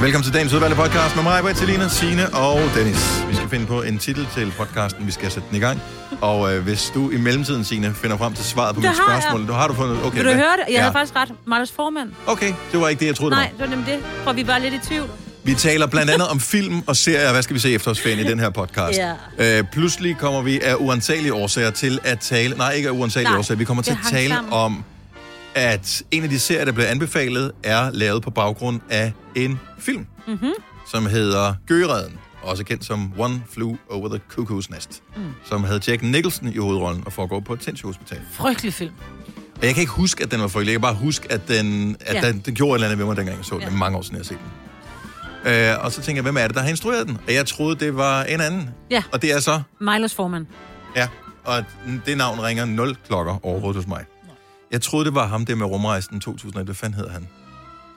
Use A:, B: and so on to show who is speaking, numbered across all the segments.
A: Velkommen til dagens udvalgte podcast med mig, Britt, Selina, Signe og Dennis. Vi skal finde på en titel til podcasten, vi skal sætte den i gang. Og øh, hvis du i mellemtiden, Signe, finder frem til svaret på
B: Det
A: mit
B: har jeg.
A: spørgsmål, du har du fundet... Okay,
B: Vil du
A: hvad?
B: høre det? Jeg ja.
A: ja.
B: havde faktisk ret. Marlers formand.
A: Okay, det var ikke det, jeg troede, det
B: Nej, det var nemlig det. For vi var lidt i tvivl.
A: var. Vi taler blandt andet om film og serier. Hvad skal vi se i efterårsferien i den her podcast? Øh, pludselig kommer vi af uantagelige årsager til at tale... Nej, ikke af uantagelige
B: Nej,
A: årsager. Vi kommer til
B: det
A: at
B: hang
A: tale
B: sammen.
A: om, at en af de serier, der blev anbefalet, er lavet på baggrund af en film.
B: Mhm.
C: Mm-hmm.
A: som hedder Gøreden, også kendt som One Flew Over the Cuckoo's Nest,
C: Mm.
A: mm. som havde Jack Nicholson i hovedrollen og foregår på et sindssygehospital.
C: Frygtelig film.
A: Og jeg kan ikke huske, at den var frygtelig. Jeg kan bare huske, at den, at
C: Ja.
A: ja. den, den gjorde et eller andet ved mig, dengang jeg så den. Det er mange år siden, jeg har set den. Øh, og så tænker jeg, hvem er det, der har instrueret den? Og jeg troede, det var en anden.
B: Ja,
A: Og det er så,
B: Milos formand.
A: ja, og det navn ringer 0 klokker overhovedet hos mig. Jeg troede, det var ham der med rumrejsen 2001. Hvad fanden hedder han?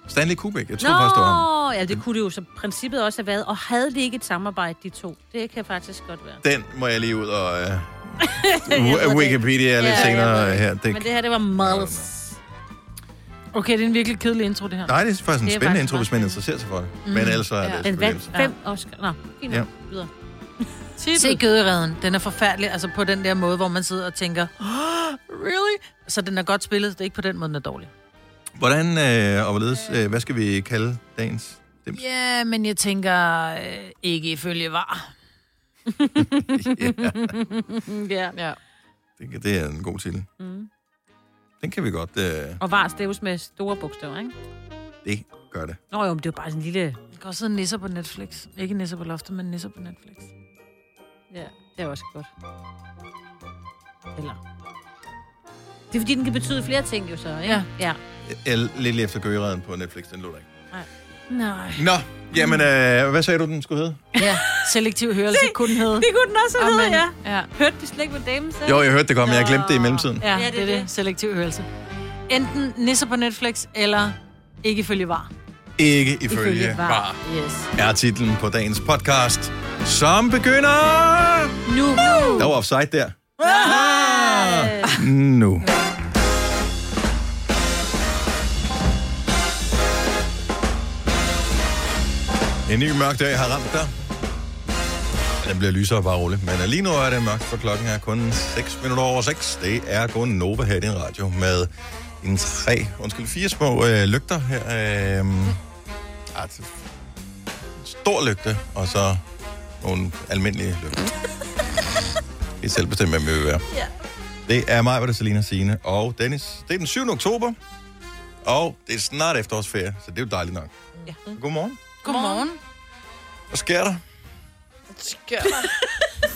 A: Stanley Kubrick. Jeg troede faktisk, det var
B: Nå,
A: ham.
B: ja, det kunne det jo så princippet også have været. Og havde de ikke et samarbejde, de to? Det kan faktisk godt være.
A: Den må jeg lige ud og... Øh,
B: Jeg ved det.
A: Wikipedia lidt
B: Ja, jeg
A: senere
B: ved
A: her. Det,
B: Men det her, det var Miles.
C: Okay, det er en virkelig kedelig intro, det her.
A: nej, det er faktisk en
B: Det er
A: spændende
B: faktisk
A: intro,
B: meget
A: hvis man interesserer sig for det.
C: Mm.
A: Mm. Men ellers er det
C: Ja.
B: Den
A: selvfølgelig
B: vandt
A: ikke.
B: fem Oscar. Nå, fint
A: Ja.
B: nok. Videre.
C: Se Gødereden. Den er forfærdelig, altså på den der måde, hvor man sidder og tænker, oh, really? Så den er godt spillet, det er ikke på den måde, den er dårlig.
A: Hvordan øh, og hvorledes, øh, hvad skal vi kalde dagens?
C: Ja, yeah, men jeg tænker øh, ikke ifølge var.
B: ja.
C: ja.
A: Det, det er en god titel.
B: Mm.
A: Den kan vi godt. Øh,
B: Og var staves med store bogstaver, ikke?
A: det gør det.
B: Nå jo, men det er jo bare sådan en lille...
C: Der kan også sidde nisser på Netflix. Ikke nisser på loftet, men nisser på Netflix.
B: Ja, det er også godt. Eller... Det er fordi, den kan betyde flere ting jo så, ikke? Ja. ja.
A: Jeg, lidt lige efter gøgereden på Netflix, den lå der ikke.
C: Nej.
A: Nå, jamen, øh, hvad sagde du, den skulle hedde?
C: Ja, selektiv hørelse kunne den hedde.
B: Det kunne den også have
C: Amen.
B: heddet, ja.
C: Ja.
B: Hørte vi slet ikke, hvad damen sagde?
A: Jo, jeg hørte det godt, men jeg glemte det i mellemtiden.
C: Ja, det er det. Selektiv hørelse. Enten nisser på Netflix, eller ikke ifølge var.
A: Ikke ifølge var.
C: Yes.
A: er titlen på dagens podcast, som begynder...
C: Nu.
A: Der var offside der. Nu. En ny mørk dag har ramt dig. Den bliver lysere bare roligt. Men lige nu er det mørkt, for klokken er kun 6 minutter over 6. Det er kun Nova her i din radio med en tre, undskyld, fire små øh, lygter her. Øh, ej, det- en stor lygte, og så nogle almindelige lygter. I selv bestemme, hvem vi vil være.
B: Ja.
A: Det er mig, hvor det er Selina Signe og Dennis. Det er den 7. oktober, og det er snart efterårsferie, så det er jo dejligt nok.
B: Ja.
A: Godmorgen.
C: Godmorgen.
A: Hvad sker der?
C: Skørt.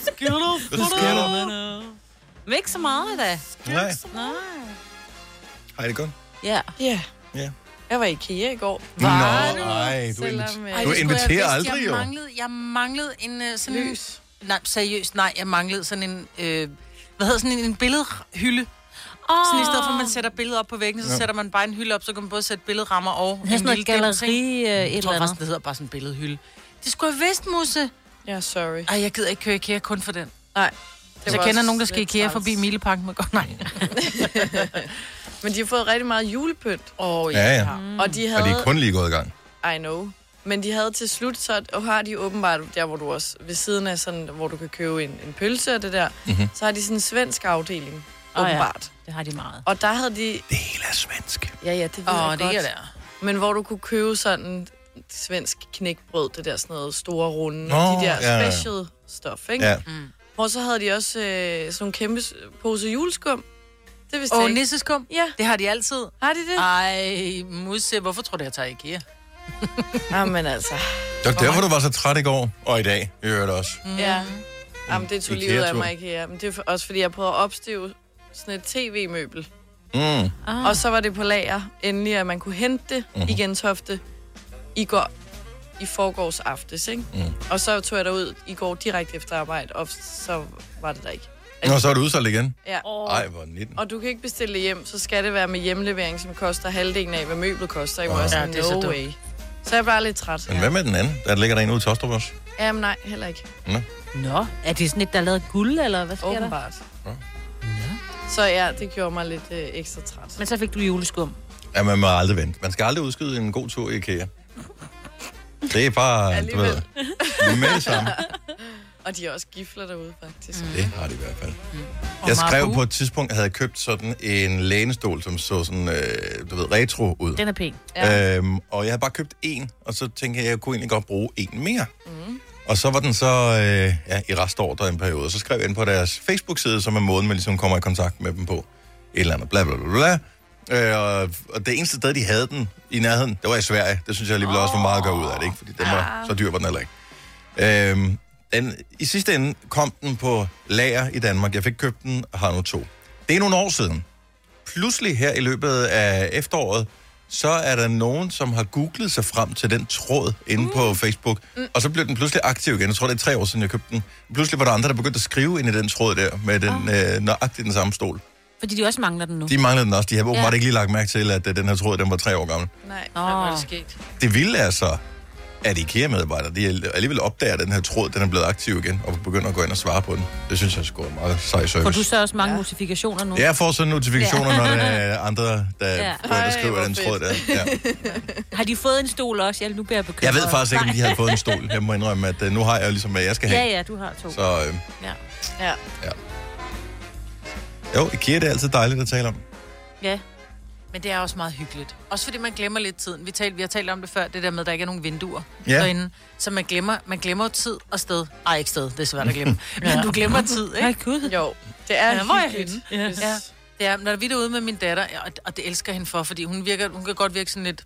C: Skørt.
A: sker der?
B: Men ikke så meget, da.
A: Nej,
B: Nej.
A: hej det er godt.
D: Ja. Ja.
A: Ja.
D: Jeg var i IKEA i går.
A: Nå, ej, du,
D: Selvom, øh,
A: inviter- du inviterer aldrig,
C: jeg
A: jo.
C: manglede, jeg manglede en øh, sådan Lys. En, nej, seriøst, nej, jeg manglede sådan en, øh, hvad hedder sådan en, en billedhylde. Oh. Sådan i stedet for, at man sætter billedet op på væggen, så
B: Ja.
C: sætter man bare en hylde op, så kan man både sætte billedrammer og
B: Det er sådan noget galleri, øh, et
C: et
B: eller
C: eller
B: andet.
C: andet. det hedder bare sådan en billedhylde. Det skulle jeg vidst, Musse.
D: Ja, sorry.
C: Ej, jeg gider ikke køre IKEA kun for den.
D: Nej.
C: Det jeg kender nogen, der skal IKEA forbi Mileparken, men godt nej.
D: Men de har fået rigtig meget julepynt. Åh, oh,
A: ja. Ja, ja. Mm.
D: Og de havde...
A: Og det er kun lige gået i gang.
D: I know. Men de havde til slut, så og har de åbenbart, der hvor du også, ved siden af sådan, hvor du kan købe en, en pølse og det der,
A: Mhm.
D: mm-hmm. så har de sådan en svensk afdeling,
B: Åh, ja.
D: åbenbart.
B: Det har de meget.
D: Og der havde de... Det
A: hele er svensk.
D: Ja, ja, det ved
C: Åh,
D: jeg
C: det
D: godt.
C: kan der.
D: Men hvor du kunne købe sådan svensk knækbrød, det der sådan noget store runde,
C: Nå,
D: de der
C: ja, ja.
D: special stuff, ikke?
C: Ja. Mm.
D: Hvor så havde de også øh, sådan nogle kæmpe s- pose juleskum. Det vidste
C: Åh,
D: jeg ikke.
C: nisseskum?
D: Ja.
C: Det har de altid.
D: Har de det?
C: Ej, Musse, hvorfor tror du, jeg tager IKEA?
D: Jamen altså.
A: Det var derfor, du var så træt i går, og i dag, i øvrigt også.
D: Mm. Ja. Jamen, det tog livet af
A: Ikea-tur.
D: mig ikke her. Men det er for- også, fordi jeg prøvede at opstøve sådan et tv-møbel.
A: Mm.
D: Ah. Og så var det på lager, endelig, at man kunne hente det
A: Mhm.
D: i Gentofte i går, i forgårs aftes, ikke?
A: Mm.
D: Og så tog jeg derud i går direkte efter arbejde, og så var det der ikke.
A: Nå, så er du udsolgt igen.
D: Ja.
A: Ej, hvor 19.
D: Og du kan ikke bestille det hjem, så skal det være med hjemlevering, som koster halvdelen af, hvad møblet koster. Ikke?
A: Wow.
D: Wow.
A: Ja,
D: Sådan,
A: det
D: ja,
A: er så
D: no så
A: dumt.
D: way. Så jeg er bare lidt træt.
A: Men hvad med den anden? Der ligger der en ude i Tostrup også.
D: Jamen nej, heller ikke.
A: Nå.
B: Nå, er det sådan et, der er lavet af guld, eller hvad sker
D: Åbenbart.
B: der?
D: Så ja, det gjorde mig lidt øh, ekstra træt.
B: Men så fik du juleskum.
A: Ja, man må aldrig vente. Man skal aldrig udskyde en god tur i IKEA. Det er bare, du ved,
D: Alligevel.
A: med det samme.
D: Og de er også gifler derude, faktisk. Mm.
A: Det har de i hvert fald. Jeg
C: Og
A: skrev
C: Marabou.
A: på et tidspunkt, at jeg havde købt sådan en lænestol, som så sådan, øh, du ved, retro ud.
B: Den er pæn.
A: Ja. Øhm, og jeg havde bare købt en, og så tænkte jeg, at jeg kunne egentlig godt bruge en mere. Mm. Og så var den så øh, ja, i restordre en periode, og så skrev jeg ind på deres Facebook-side, som er måden, man ligesom kommer i kontakt med dem på. Et eller andet, bla bla bla bla. Øh, og, og det eneste sted, de havde den i nærheden, det var i Sverige. Det synes jeg alligevel også var meget at gøre ud af det, ikke? Fordi den var, så dyr var den heller ikke. Øhm, den, I sidste ende kom den på lager i Danmark. Jeg fik købt den og har nu to. Det er nogle år siden pludselig her i løbet af efteråret, så er der nogen, som har googlet sig frem til den tråd inde mm. på Facebook, mm. og så blev den pludselig aktiv igen. Jeg tror, det er tre år siden, jeg købte den. Pludselig var der andre, der begyndte at skrive ind i den tråd der, med den øh, nøjagtigt den samme stol.
B: Fordi de også mangler den nu.
A: De manglede den også. De havde åbenbart
B: Ja.
A: ikke lige lagt mærke til, at øh, den her tråd, den var tre år gammel.
D: Nej,
B: Nå.
D: oh. hvor er det sket.
A: Det vilde er så, at IKEA-medarbejdere, de alligevel opdager, at den her tråd, den er blevet aktiv igen, og begynder at gå ind og svare på den. Det synes jeg sgu er meget sej service.
B: Får du så også mange ja. notifikationer nu?
A: Jeg får så notifikationer, ja. når der er andre, der, ja.
B: Ja.
A: der skriver
D: Ej,
A: den
D: hvor
A: tråd der. Ja.
B: Har de fået en stol også? Jeg, nu bliver jeg bekymret.
A: Jeg ved faktisk ikke, om de havde fået en stol. Jeg må indrømme, at øh, nu har jeg jo ligesom, hvad jeg skal have.
B: Ja, ja, du har to. Så.
A: Så øh,
B: Ja.
D: Ja.
A: ja. Jo, IKEA det er altid dejligt at tale om.
B: ja.
C: Men det er også meget hyggeligt. Også fordi man glemmer lidt tiden. Vi, tal, vi har talt om det før, det der med, at der ikke er nogen vinduer
A: Ja.
C: derinde. Så man glemmer, man glemmer jo tid og sted. Ej, ikke sted, det er svært at glemme. Men du glemmer tid, ikke?
B: Nej, gud.
D: Jo, det er
C: Ja, hvor er
D: hyggeligt.
B: Yes.
C: Ja. Det er, når vi er ude med min datter, og, og det elsker hende for, fordi hun, virker, hun kan godt virke sådan lidt...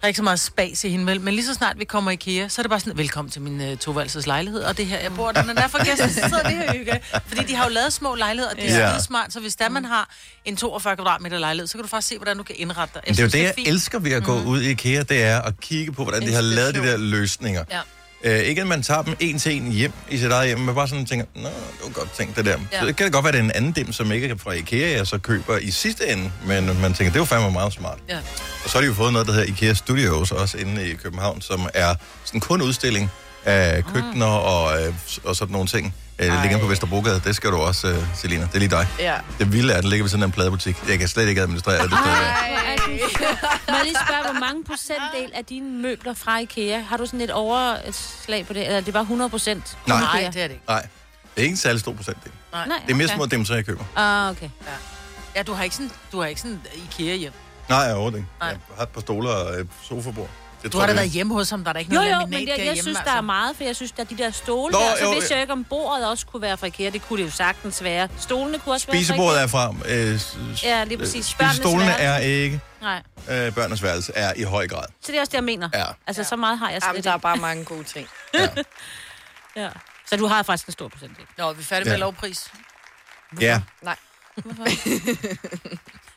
C: Der er ikke så meget spas i hende, vel? Men lige så snart vi kommer i IKEA, så er det bare sådan, velkommen til min uh, toværelses lejlighed, og det er her, jeg bor, den er der for gæster, så sidder vi her og hygger. Fordi de har jo lavet små lejligheder, og det er
A: Ja.
C: ja. smart, så hvis der man har en 42 kvadratmeter lejlighed, så kan du faktisk se, hvordan du kan indrette dig.
A: Men det er Mm. jo det, jeg
C: fint.
A: elsker ved at gå ud i IKEA, det er at kigge på, hvordan de har lavet de der løsninger.
C: Ja.
A: Øh, ikke at man tager dem en til en hjem i sit eget hjem, men bare sådan tænker, nå, det var godt tænkt det der. Ja.
C: Ja.
A: Så det kan det godt være, at det er en anden dem, som ikke er fra IKEA, jeg så køber i sidste ende, men man tænker, det var fandme meget smart.
C: Ja.
A: Og så har de jo fået noget, der hedder IKEA Studios, også inde i København, som er sådan kun udstilling af køkkener og, øh, og sådan nogle ting. Øh, Det ligger på Vesterbrogade, det skal du også, øh, Selina. Det er lige dig.
D: Ja.
A: Det vilde er, at den ligger ved sådan en pladebutik. Jeg kan slet ikke administrere det. Ej.
B: Hvor er du sjov. Må jeg lige spørge, hvor mange procentdel af dine møbler fra IKEA, har du sådan et overslag på det? Eller er det bare 100 procent?
A: Nej.
C: Nej, det er det ikke.
A: Nej, det er ikke en særlig stor procentdel.
C: Nej.
B: Nej,
A: Det er mere
B: okay.
A: små dem, som jeg køber.
B: Ah, okay.
C: Ja, du har ikke sådan, du har ikke sådan øh, IKEA hjem.
A: Nej, jeg overhovedet ikke.
C: Nej.
A: Jeg har et par stoler og et sofabord. Det
C: Du har da
A: jeg-
C: været hjemme hos ham, der er da ikke
B: Jo,
C: noget
B: jo,
C: laminat
B: men det, jeg
C: derhjemme,
B: synes,
C: altså.
B: der er meget, for jeg synes, der er de der stole
A: Nå,
B: Nå, der, så
A: jo,
B: vidste
A: jo.
B: jeg ikke, om bordet også kunne være fra IKEA. Det kunne det jo sagtens være. Stolene kunne også
A: Spisebordet
B: være
A: er fra. Øh, s- s-
B: Ja, lige præcis. Børnenes
A: Spisestolene
B: værelse.
A: er ikke.
B: Nej.
A: Øh, børnenes værelse er i høj grad.
B: Så det er også det, jeg mener.
A: Ja.
B: Altså, så meget har jeg slet
D: Jamen, der
B: ikke.
D: er bare mange gode ting.
B: Ja. Så du har faktisk en stor procentdel.
C: Nå, vi er færdige med
A: Ja.
C: lovpris.
A: Ja.
D: Nej.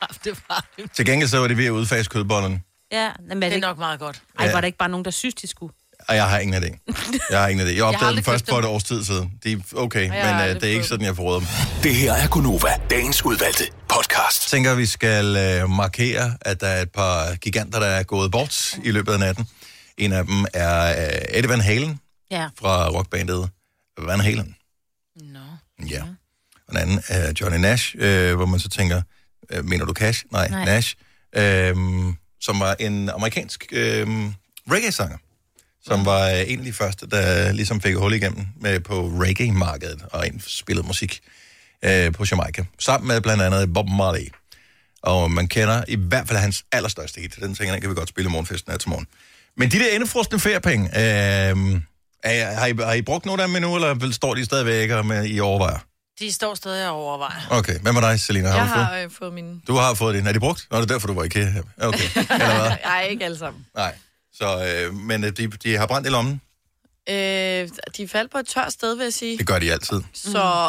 C: Ja, det var det.
A: Til gengæld så var det ved at udfase kødbollerne.
B: Ja, men er
C: Det
B: det
C: er
B: ikke...
C: nok meget godt.
B: Ej,
A: Ja.
B: var der ikke bare nogen, der synes, de skulle?
A: Og jeg har ingen idé. Jeg har ingen idé. Jeg opdagede dem
C: aldrig
A: først
C: købt dem.
A: for et års tid siden. De er okay,
D: jeg har
A: men øh,
D: aldrig
A: det er ikke
D: fået
A: sådan, jeg forråder dem.
E: Det her er Gunova, dagens udvalgte podcast.
A: Jeg tænker, vi skal øh, markere, at der er et par giganter, der er gået bort i løbet af natten. En af dem er øh, Eddie Van Halen
B: Ja.
A: fra rockbandet Van Halen.
C: Nå.
A: Ja. Og den anden er Johnny Nash, øh, hvor man så tænker, øh, mener du Cash? Nej, Nej.
B: Nej.
A: Nash. Øh, som var en amerikansk øh, reggae-sanger, som var øh, en af de første, der ligesom fik hul igennem med på reggae-markedet og ind- spillede musik øh, på Jamaica. Sammen med blandt andet Bob Marley. Og man kender i hvert fald hans allerstørste hit. Den tænker jeg, den kan vi godt spille i morgenfesten her til morgen. Men de der indefrostende feriepenge, øh, er, jeg- har, I, har I brugt nogle af dem endnu, eller står de stadigvæk og med, I overvejer?
C: De står stadig og overvejer.
A: Okay, hvad med dig, Selina? Har
D: Jeg
A: du fået?
D: har øh, fået mine...
A: Du har fået det. Er det brugt? Nå, det er derfor, du var i IKEA. Okay, eller hvad?
D: Nej, ikke alle sammen.
A: Nej. Så, øh, men øh, de, de har brændt i lommen.
D: Øh, de faldt på et tørt sted, vil jeg sige.
A: Det gør de altid.
D: Så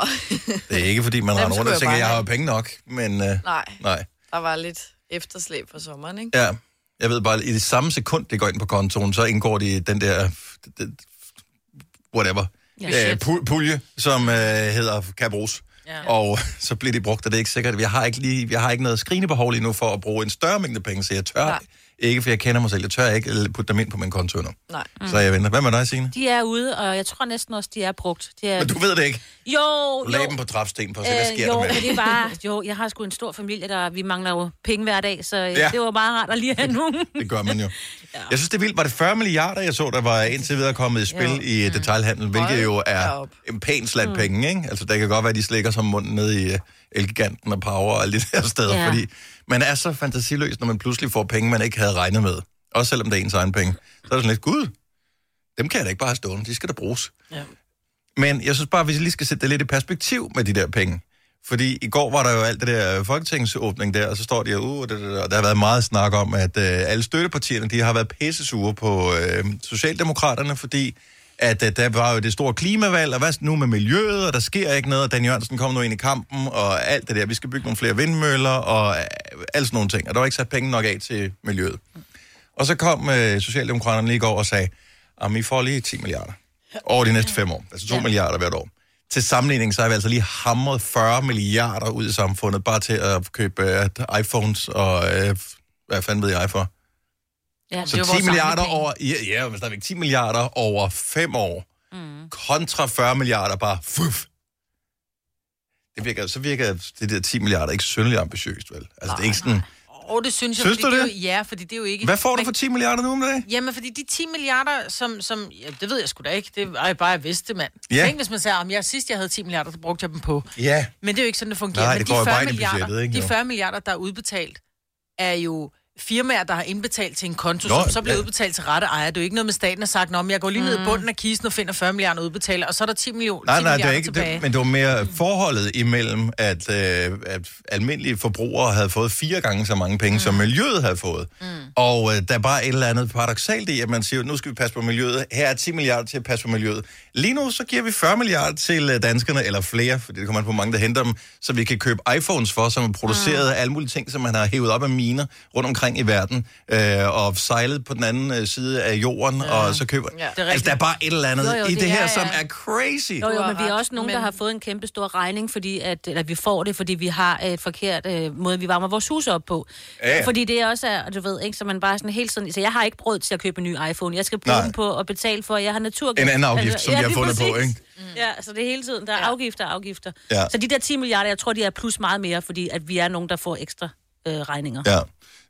A: Det er ikke, fordi man render rundt
D: skulle
A: og
D: jeg
A: tænker,
D: bare
A: jeg har jo
D: have."
A: penge nok, men øh,
D: nej,
A: nej.
D: der var lidt efterslæb for sommeren, ikke?
A: Ja, jeg ved bare, i det samme sekund, det går ind på kontoen, så indgår det i den der, den- whatever,
B: Ja.
A: øh, pul- pulje, som øh, hedder kan bruges. Ja.
C: Ja.
A: Og så bliver de brugt, og det er ikke sikkert. Jeg har ikke, lige, jeg har ikke noget skrigende behov lige nu for at bruge en større mængde penge, så jeg tør
D: Nej.
A: Ikke, for jeg kender mig selv. Jeg tør ikke øh, putte dem ind på min konto endnu.
D: Nej.
A: Mm. Så jeg venter. Hvad med dig, Signe?
B: De er ude, og jeg tror næsten også, de er brugt. De er...
A: Men du ved det ikke.
B: Jo,
A: Du lagde
B: jo.
A: dem på trapsten på, så hvad
B: Øh,
A: sker der
B: jo,
A: med
B: men
A: det?
B: det er bare, jo, jeg har sgu en stor familie, der vi mangler jo penge hver dag, så
A: Ja.
B: ja. det var meget rart at lige have nogen.
A: Det gør man jo. ja. Jeg synes, det er vildt. Var det 40 milliarder, jeg så, der var indtil videre kommet i spil jo. i mm. detailhandel, hvilket jo
D: da
A: er
D: op.
A: en pæn slat mm. penge, ikke? Altså, der kan godt være, at de slikker som munden ned i øh, Elgiganten og Power og alle de der steder, ja.
B: Ja.
A: fordi man er så fantasiløs, når man pludselig får penge, man ikke havde regnet med. Også selvom det er ens egen penge. Så er det sådan lidt, gud, dem kan jeg da ikke bare have stående. De skal da bruges.
C: Ja.
A: Men jeg synes bare, at vi lige skal sætte det lidt i perspektiv med de der penge. Fordi i går var der jo alt det der folketingsåbning der, og så står de jo, uh, det, det, det, og der har været meget snak om, at øh, alle støttepartierne, de har været pissesure på øh, Socialdemokraterne, fordi at øh, der var jo det store klimavalg, og hvad nu med miljøet, og der sker ikke noget, og Dan Jørgensen kom nu ind i kampen, og alt det der, vi skal bygge nogle flere vindmøller, og øh, alt sådan nogle ting, og der var ikke sat penge nok af til miljøet. Og så kom øh, Socialdemokraterne lige i går og sagde, at vi får lige 10 milliarder over de næste fem år. Altså 2 ja. milliarder hvert år. Til sammenligning, så har vi altså lige hamret 40 milliarder ud i samfundet, bare til at købe øh, iPhones og øh, hvad fanden ved jeg for.
B: Ja, det er jo vores
A: Så 10
B: samlede
A: milliarder
B: penge.
A: over, ja, ja, men stadigvæk 10 milliarder over 5 år, mm. kontra 40 milliarder bare, fuf. Det virker, så virker det der 10 milliarder ikke synderligt ambitiøst, vel? Altså, det er ikke sådan,
C: Åh, det synes jeg.
A: Synes
C: fordi
A: du
C: er
A: det?
C: Jo, ja, fordi det er jo ikke...
A: hvad får du
C: Men-
A: for 10 milliarder nu om dagen?
C: Jamen, fordi de 10 milliarder, som... som ja, det ved jeg sgu da ikke. Det er bare, jeg vidste, mand.
A: Ja.
C: Tænk, hvis man sagde, om jeg sidst jeg havde 10 milliarder, så brugte jeg dem på.
A: Ja.
C: Men det er jo ikke sådan, det fungerer.
A: Nej,
C: Men
A: det
C: de
A: går jo
C: 40
A: bare ind i budgettet,
C: milliarder,
A: ikke,
C: De
A: jo?
C: 40 milliarder, der er udbetalt, er jo firmaer, der har indbetalt til en konto,
A: Nå,
C: Nå, som så bliver
A: ja. Mm.
C: ja. udbetalt til rette ejer. Det er jo ikke noget med staten har sagt, om jeg går lige ned i bunden af kisten og finder 40 milliarder og udbetaler, og så er der 10 millioner
A: Nej,
C: 10
A: nej, det er
C: milliarder
A: ikke
C: tilbage.
A: det, men det var mere forholdet imellem, at, øh, at almindelige forbrugere havde fået fire gange så mange penge, mm. som miljøet havde fået. Mm. Og øh, der er bare et eller andet paradoxalt i, at man siger, nu skal vi passe på miljøet, her er 10 milliarder til at passe på miljøet. Lige nu, så giver vi 40 milliarder til øh, danskerne, eller flere, fordi det kommer an på hvor mange, der henter dem, så vi kan købe iPhones for, som er produceret af alle mulige ting, som man har hævet op af miner rundt omkring i verden, øh, og sejlet på den anden øh, side af jorden, ja. og så køber... Ja,
D: er
A: altså, der er bare et eller andet
B: Jo, jo,
A: i det,
B: det
A: det her,
B: er-
A: som er crazy.
B: Jo, jo,
D: har
B: men vi er
D: ret,
B: også nogen, men... der
D: men-
B: har fået en kæmpe stor regning, fordi at, eller vi får det, fordi vi har et forkert øh, måde, vi varmer vores hus op på.
A: Ja, ja.
B: Fordi det også er, du ved, ikke, så man bare sådan hele tiden... Så jeg har ikke råd til at købe en ny iPhone. Jeg skal bruge
A: Nej.
B: Nej. den på at betale for, at jeg har naturgas. Altså,
A: En anden afgift, som vi har
B: lige Mm.
A: fundet på, ikke?
B: Ja, så det er hele tiden, der er afgifter og afgifter.
A: Ja.
B: Så de der 10 milliarder, jeg tror, de er plus meget mere, fordi at vi er nogen, der får ekstra øh, regninger.
A: Ja.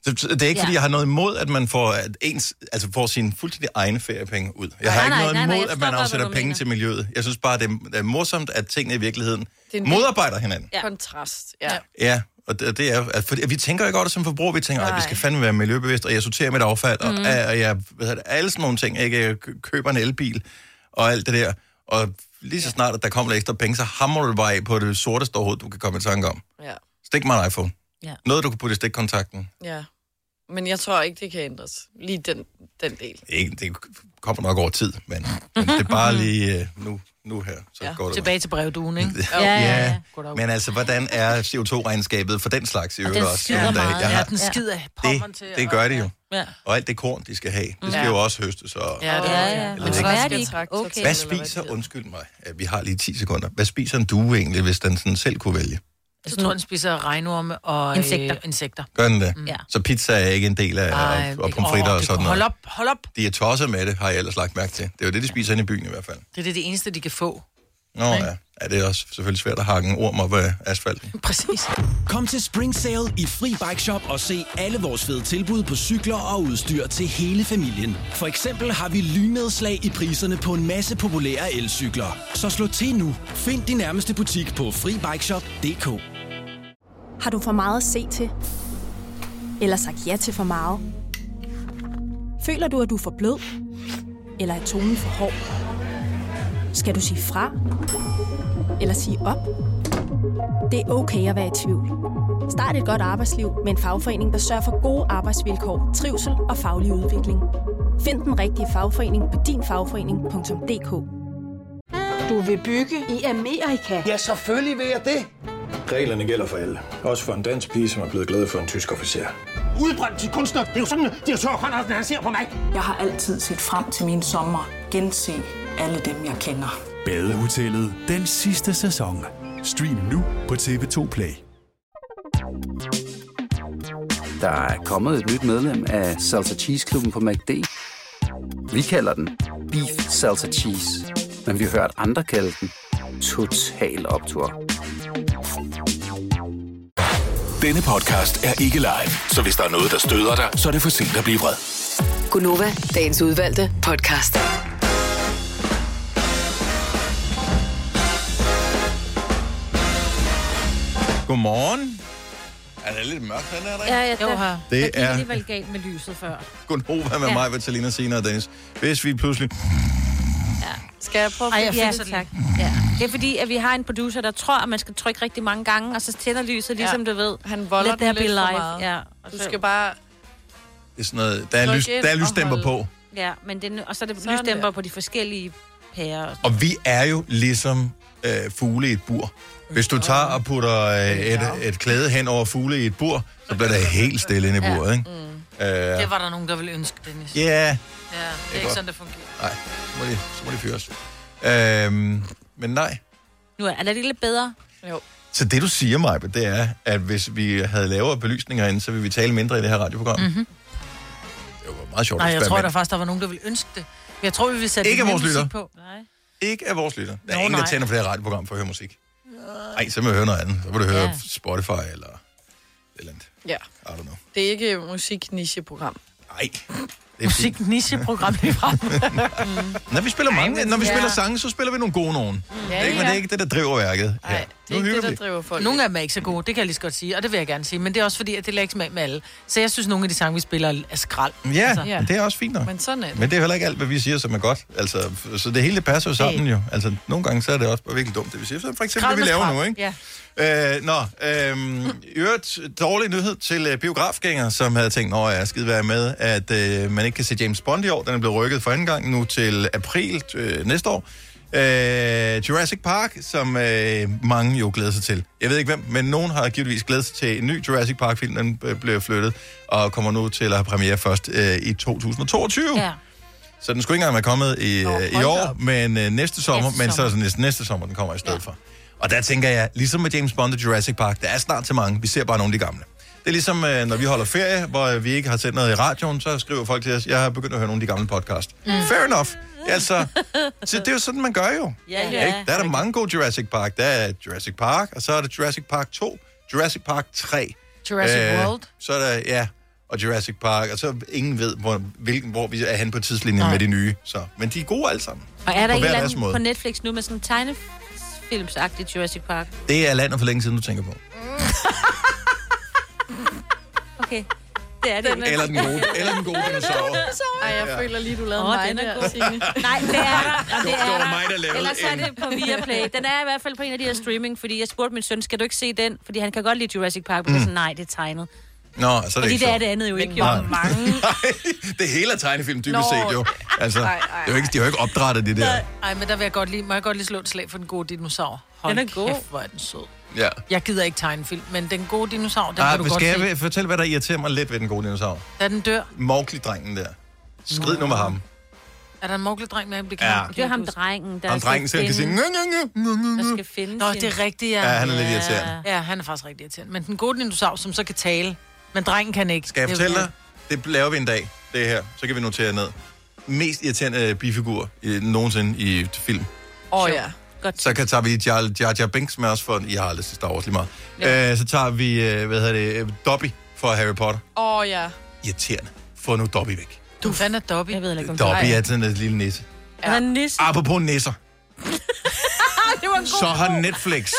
A: Så så det er ikke, fordi
B: Ja.
A: jeg har noget imod, at man får, at ens, altså får sine fuldstændig egne feriepenge ud. Jeg har
B: Nej,
A: ikke
B: nej,
A: noget
B: nej, nej,
A: imod,
B: jeg
A: at
B: forstår
A: man
B: godt,
A: afsætter
B: hvad du
A: penge
B: mener.
A: til miljøet. Jeg synes bare, det er, det er morsomt, at tingene i virkeligheden
D: er en-
A: modarbejder hinanden.
B: Ja.
D: Kontrast, ja.
C: Ja.
A: Ja, og det, det er, at for, vi tænker jo ikke over det som forbrugere. Vi tænker, at vi skal fandme være miljøbevidste, og jeg sorterer mit affald,
B: Mhm.
A: og, mm. og jeg, hvad hedder det, alle sådan nogle ting. Ikke? Jeg kø- køber en elbil og alt det der. Og lige så snart, at der kommer lidt ekstra penge, så hammer du det bare af på det sorteste overhovedet, du kan komme i tanke om.
D: ja.
A: Stik mig en iPhone.
B: Ja.
A: Noget, du kan putte i stikkontakten.
D: ja. Men jeg tror ikke, det kan ændres. Lige den, den del.
A: ikke, det kommer nok over tid, men, men det er bare lige øh, nu, nu her, så ja, går det.
C: Tilbage til brevduen, ikke?
A: nok.
B: Ja, ja,
A: Ja,
B: ja.
A: men altså, hvordan er CO2-regnskabet for den slags i øvrigt
B: den
A: også?
B: slider
A: nu om dagen?
B: meget,
A: Jeg
C: Ja,
A: har,
C: den skider ja.
A: det,
C: til.
A: det gør de jo.
B: Ja.
A: Og alt det korn, de skal have, det skal
D: Ja.
A: jo også høstes. Og...
C: Ja, det
B: Ja,
C: er
B: ja.
C: ja.
A: Eller ikke.
B: Hvad er det ikke?
D: Traktor til.
B: Okay.
A: Hvad
D: eller hvad det
A: spiser,
D: hedder.
A: undskyld mig, ja, vi har lige 10 sekunder. Hvad spiser en due egentlig, hvis den sådan selv kunne vælge?
C: Så tror jeg, den spiser regnorme og
B: Insekter.
C: Øh, insekter.
A: Gør den det?
B: Ja.
A: Så pizza er ikke en del af,
C: Mm. Ej,
A: og, og pomfritter
C: åh,
A: og
C: det-
A: sådan
C: Hold
A: noget.
C: op, hold op.
A: De er tosset med det, har jeg ellers lagt mærke til. Det er jo det, de spiser inde i byen i hvert fald.
C: Det er det, det eneste, de kan få.
A: Nå ja, ja det er også selvfølgelig svært at hakke en orm op af asfalten.
C: Præcis.
F: Kom til Spring Sale i Free Bike Shop og se alle vores fede tilbud på cykler og udstyr til hele familien. For eksempel har vi lynedslag i priserne på en masse populære elcykler. Så slå til nu. Find din nærmeste butik på FriBikeShop.dk
G: Har du for meget at se til? Eller sagt ja til for meget? Føler du, at du er for blød? Eller er tonen for hård? Skal du sige fra? Eller sige op? Det er okay at være i tvivl. Start et godt arbejdsliv med en fagforening, der sørger for gode arbejdsvilkår, trivsel og faglig udvikling. Find den rigtige fagforening på dinfagforening.dk
H: Du vil bygge i Amerika?
I: Ja, selvfølgelig vil jeg det.
J: Reglerne gælder for alle. Også for en dansk pige, som er blevet glad for en tysk officer.
I: Udbrændt til kunstner. Det er jo sådan, at de har Conradsen, han ser på mig.
K: Jeg har altid set frem til min sommer, gense alle dem, jeg kender.
J: Badehotellet. Den sidste sæson. Stream nu på TV2 Play.
L: Der er kommet et nyt medlem af Salsa Cheese Klubben på MACD. Vi kalder den Beef Salsa Cheese, men vi har hørt andre kalde den Total Optor.
E: Denne podcast er ikke live, så hvis der er noget, der støder dig, så er det for sent at blive vred.
M: Gunova, dagens udvalgte podcast.
A: Godmorgen. Er det lidt mørkt, den er der?
B: Ja, ja,
A: Jo,
B: der,
A: her.
B: det
A: Det
B: der gik
A: er-
B: alligevel galt med lyset før.
A: Godnova med
B: Ja.
A: mig, Vitalina, Sina og Dennis. Hvis vi pludselig...
B: Skal jeg prøve
C: Ej,
B: at
C: jeg
B: ja,
C: fikser det
B: tak. Ja. Det er fordi, at vi har en producer, der tror, at man skal trykke rigtig mange gange, og så tænder lyset, ligesom du ved.
D: Han volder
B: Let there
D: den lidt
B: be
D: for
B: life.
D: meget.
B: Ja. og
D: Du
B: så-
D: skal bare...
A: Det er sådan noget, der er,
B: Tryk
A: lys,
B: ind
A: der er
B: og
A: lysdæmper
B: hold.
A: på.
B: Ja, men den, og så er det lysdæmper på de forskellige pærer. og-
A: Og vi er jo ligesom øh, fugle i et bur. Hvis du tager og putter øh, et, et klæde hen over fugle i et bur, så bliver der helt stille inde i
C: Ja.
A: buret, ikke?
B: Mm.
C: Ja.
A: Øh,
C: Det var der nogen, der ville ønske, Dennis.
A: Ja,
C: Ja, det er,
A: er
C: ikke
A: godt.
C: sådan, det fungerer.
A: nej, så må de, så må de fyres. Øhm, men nej.
B: Nu er, er det lidt bedre.
D: Jo.
A: Så det, du siger, mig, det er, at hvis vi havde lavere belysninger inde, så ville vi tale mindre i det her radioprogram. Mm-hmm.
C: Mm-hmm.
A: Det var meget sjovt
C: Nej, jeg tror der
A: eksperiment.
C: faktisk, der var nogen, der ville ønske det. Men jeg tror, vi ville sætte
A: Ikke
C: lidt
A: vores
C: mere musik
A: lytter.
C: på.
A: Ikke af vores lytter. Der er
C: Nå,
A: ingen, der
C: nej.
A: tænder for det her radioprogram for at høre musik. Nej, så må jeg høre noget andet. Så må du høre
D: Ja.
A: Spotify eller et eller andet.
D: Ja.
A: I don't know.
D: Det er ikke musiknicheprogram.
A: Nej.
C: Musiknicheprogram lige frem.
A: Når vi spiller mange,
D: men-
A: når vi
D: ja.
A: spiller sange, så spiller vi nogle gode nogen.
C: Ja,
A: ikke, men
C: ja.
A: det er ikke det, der driver værket. Nej,
C: Det er ikke det, der
D: driver folk.
C: Nogle af dem er ikke så gode, det kan jeg lige så godt sige, og det vil jeg gerne sige. Men det er også fordi, at det lægger ikke smag med alle. Så jeg synes, nogle af de sange, vi spiller, er skrald. Altså,
A: Ja, men det er også fint nok.
D: Men sådan er det.
A: Men det er heller ikke alt, hvad vi siger, som er godt. Altså, f- så det hele det passer jo sammen jo. Altså, nogle gange så er det også bare virkelig dumt, det vi siger. Så for eksempel det, vi laver nu, ikke?
C: Ja.
A: Øh, nå, øh, i øvrigt dårlig nyhed til øh, biografgængere, som havde tænkt, at jeg skide være med, at øh, man ikke kan se James Bond i år. Den er blevet rykket for anden gang nu til april øh, næste år. Øh, Jurassic Park, som øh, mange jo glæder sig til. Jeg ved ikke hvem, men nogen har givetvis glædet sig til en ny Jurassic Park-film, den øh, blev flyttet og kommer nu til at have premiere først øh, i 2022.
B: Ja.
A: Så den skulle ikke engang være kommet i, øh, i
B: hold da
A: år,
B: op.
A: men øh, næste sommer,
B: Næste
A: men så er
B: sommer.
A: det næste, næste sommer, den kommer i stedet ja. for. Og der tænker jeg, ligesom med James Bond og Jurassic Park, der er snart til mange, vi ser bare nogle af de gamle. Det er ligesom, øh, når vi holder ferie, hvor øh, vi ikke har sendt noget i radioen, så skriver folk til os, jeg har begyndt at høre nogle af de gamle podcast. Mm. Fair enough. Altså, så det er jo sådan, man gør jo.
N: Ja, ja.
A: Ikke? Der er der mange gode Jurassic Park. Der er Jurassic Park, og så er der Jurassic Park 2, Jurassic Park 3.
C: Jurassic World.
A: Så er der, ja, og Jurassic Park, og så ingen ved, hvor, hvilken, hvor vi er hen på tidslinjen med de nye. Så. Men de er gode alle sammen.
B: Og er der ikke
A: på hver
B: eller
A: deres
B: andet
A: måde.
B: på Netflix nu med sådan en tegnefilmsagtig Jurassic Park?
A: Det er landet for længe siden, du tænker på.
B: Okay, det er det.
A: Den er- Eller den gode- eller den gode dinosaur.
D: Ej, jeg
A: Ja.
D: føler lige, du lavede
B: Åh,
D: mig
B: den er
D: der,
B: god. Nej,
D: Signe.
B: det er der. og
D: Det
B: Det
D: var
B: er der.
D: mig, der lavede
B: Ellers er
D: en.
B: det på Viaplay. Den er i hvert fald på en af de her streaming, fordi jeg spurgte min søn, skal du ikke se den? Fordi han kan godt lide Jurassic Park, men
A: Mm.
B: mm. sådan, nej, det er tegnet.
A: Nå, så er det
B: fordi
A: ikke
B: det er
A: sjovt.
B: det andet jo ikke. Jo.
A: Nej.
B: Mange.
A: det hele er tegnefilm, dybest
C: Nå.
A: set jo. Altså,
C: Ej, ej,
A: det er jo ikke, de har jo ikke opdrettet det der.
C: Nej, men der vil jeg godt lige, må jeg godt lige slå et slag for den gode dinosaur. Hold
B: Den er god.
C: Kæft, hvor er den sød.
A: Ja.
C: Jeg gider ikke tegnefilm, men den gode dinosaur, den
A: Ej,
C: kan du godt
A: skal jeg
C: se.
A: vil- fortælle, hvad der irriterer mig lidt ved den gode dinosaur?
C: Da den dør,
A: Mowgli-drengen der. Skrid nu med ham.
C: er der en mogledreng med, at blive
A: Ja.
C: kaldt?
A: Det er
B: ham drengen,
A: der Ham skal drengen, som kan finde- sige,
C: Der
B: skal finde
C: Nå,
B: sin-
C: det er rigtigt, ja.
A: Ja, han er lidt irriterende.
C: Ja, han er faktisk rigtig irriterende. Men den gode dinosaur, som så kan tale, men drengen kan ikke.
A: Skal jeg fortælle dig? Det laver vi en dag, det her. Så kan vi notere ned. Mest irriterende øh, bifigur øh, nogensinde i et film.
D: Åh oh, ja.
B: Godt.
A: Så kan, tager vi Jar Jar, Jar Binks med os for... Jeg har aldrig set Star Wars lige meget. Ja. Øh, så tager vi, øh, hvad hedder det, øh, Dobby fra Harry Potter.
D: Åh oh, ja.
A: Irriterende. Få nu Dobby væk.
C: Du fandt er Dobby. Jeg
B: ved ikke, om
A: Dobby er sådan en lille nisse.
B: Ja. Ah, Han er nisse.
A: Apropos nisser.
B: det var en
A: så har Netflix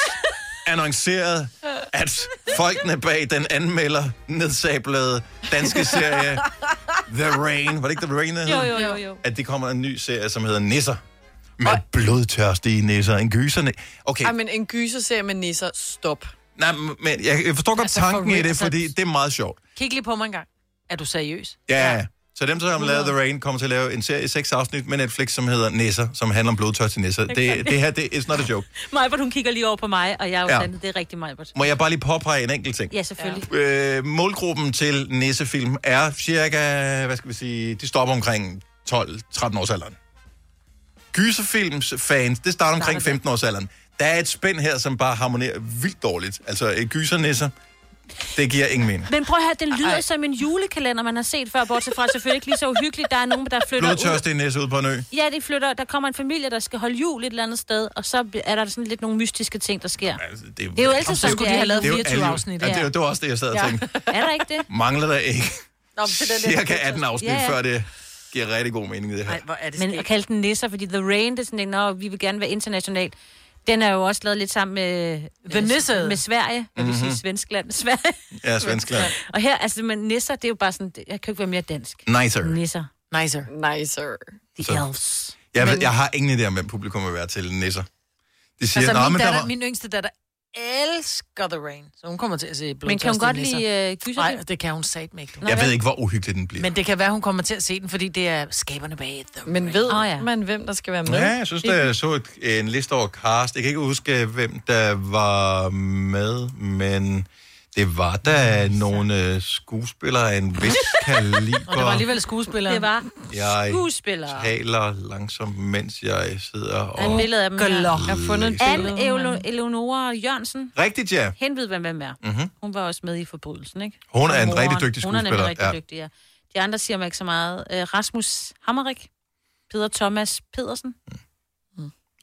A: annonceret, at folkene bag den anmelder nedsablede danske serie The Rain, var det ikke The Rain, der
B: Jo,
A: hed?
B: jo, jo, jo.
A: At det kommer en ny serie, som hedder Nisser. Med blodtørstige nisser, en gyser. Okay,
D: Ej, men en gyserserie med nisser, stop.
A: nej, men jeg, jeg forstår godt
D: Altså,
A: altså,
D: for
A: tanken i
D: real,
A: det,
D: altså-
A: fordi det er meget sjovt.
C: Kig lige på mig en gang. Er du seriøs?
A: Ja, ja. Så dem, som har lavet The Rain, kommer til at lave en serie i seks afsnit med Netflix, som hedder Nisser, som handler om blodtørstige nisser. Det, det her, det er not a joke.
B: Majbert, hun kigger lige over på mig, og jeg er jo
A: Ja.
B: ja. det er rigtig Majbert.
A: Må jeg bare lige påpege en enkelt ting?
B: Ja, selvfølgelig.
A: øh, målgruppen til næsefilm er cirka, hvad skal vi sige, de stopper omkring 12-13 års alderen. Gyserfilms fans, det starter omkring 15 års alderen. Der er et spænd her, som bare harmonerer vildt dårligt. Altså øh, gysernisser, Det giver ingen mening.
B: Men prøv at høre, den lyder Ej. som en julekalender, man har set før, bortset fra selvfølgelig ikke lige så uhyggeligt. Der er nogen, der flytter ud.
A: Blodtørst i en næse ude på en ø.
B: Ja, de flytter. Der kommer en familie, der skal holde jul et eller andet sted, og så er der sådan lidt nogle mystiske ting, der sker.
A: Det,
B: altså, Det er jo altid sådan, det er.
A: Det er jo alle- Ja, det, er jo-
B: ja.
A: det var også det, jeg sad og tænkte.
B: Er der ikke det?
A: Mangler der ikke
B: Nå, men det er den der
A: cirka 18 afsnit,
B: Ja, ja.
A: før det giver rigtig god mening, det her.
C: Ej, hvor er det
B: Men at kalde den nisser, fordi The Rain, det er sådan en, nå, vi vil gerne være international. Den er jo også lavet lidt sammen med... øh,
C: The Nisse.
B: Med Sverige. Jeg vil
A: Mhm.
B: sige Svenskland. Sverige.
A: Ja, Svenskland.
B: Og her, altså, men nisser, det er jo bare sådan... Jeg kan jo ikke være mere dansk.
A: Nicer.
B: Mm. Nisser.
C: Nicer.
D: Nicer.
B: The
A: Så-
B: Elves.
A: Jeg, ved, jeg har ingen idé om, hvem publikum vil være til nisser. De siger,
C: altså,
A: altså,
C: min,
A: men der
C: datter,
A: var...
C: min yngste datter elsker The Rain, så hun kommer til at se blodtørst
B: Men kan hun godt lide øh, gyser?
C: Nej, det kan hun sat mig ikke.
A: Jeg ved ikke, hvor uhyggelig den bliver.
C: Men det kan være, hun kommer til at se den, fordi det er skaberne bag The
D: Men ved oh, ja. man, hvem der skal være med?
A: Ja, jeg synes, der så et, en liste over cast. Jeg kan ikke huske, hvem der var med, men det var da nogle øh, skuespillere af en vis kaliber.
C: Og det var alligevel skuespillere.
B: Det var
A: Jeg
B: skuespillere.
A: taler langsomt, mens jeg sidder
B: Der er et
A: og...
B: billede af dem her.
A: Glor. Jeg har fundet et
B: Anne
A: billede,
B: Eleonora Eleonora Jørgensen.
A: Rigtigt, ja.
B: Hen ved, hvem hvem er.
A: Mhm.
B: Hun var også med i Forbrydelsen, ikke?
A: Hun er en
B: Moren.
A: rigtig dygtig
B: Hun er nemlig
A: skuespiller,
B: rigtig
A: ja.
B: dygtig, ja. De andre siger mig ikke så meget. Øh, Rasmus Hammerik. Peter Thomas Pedersen.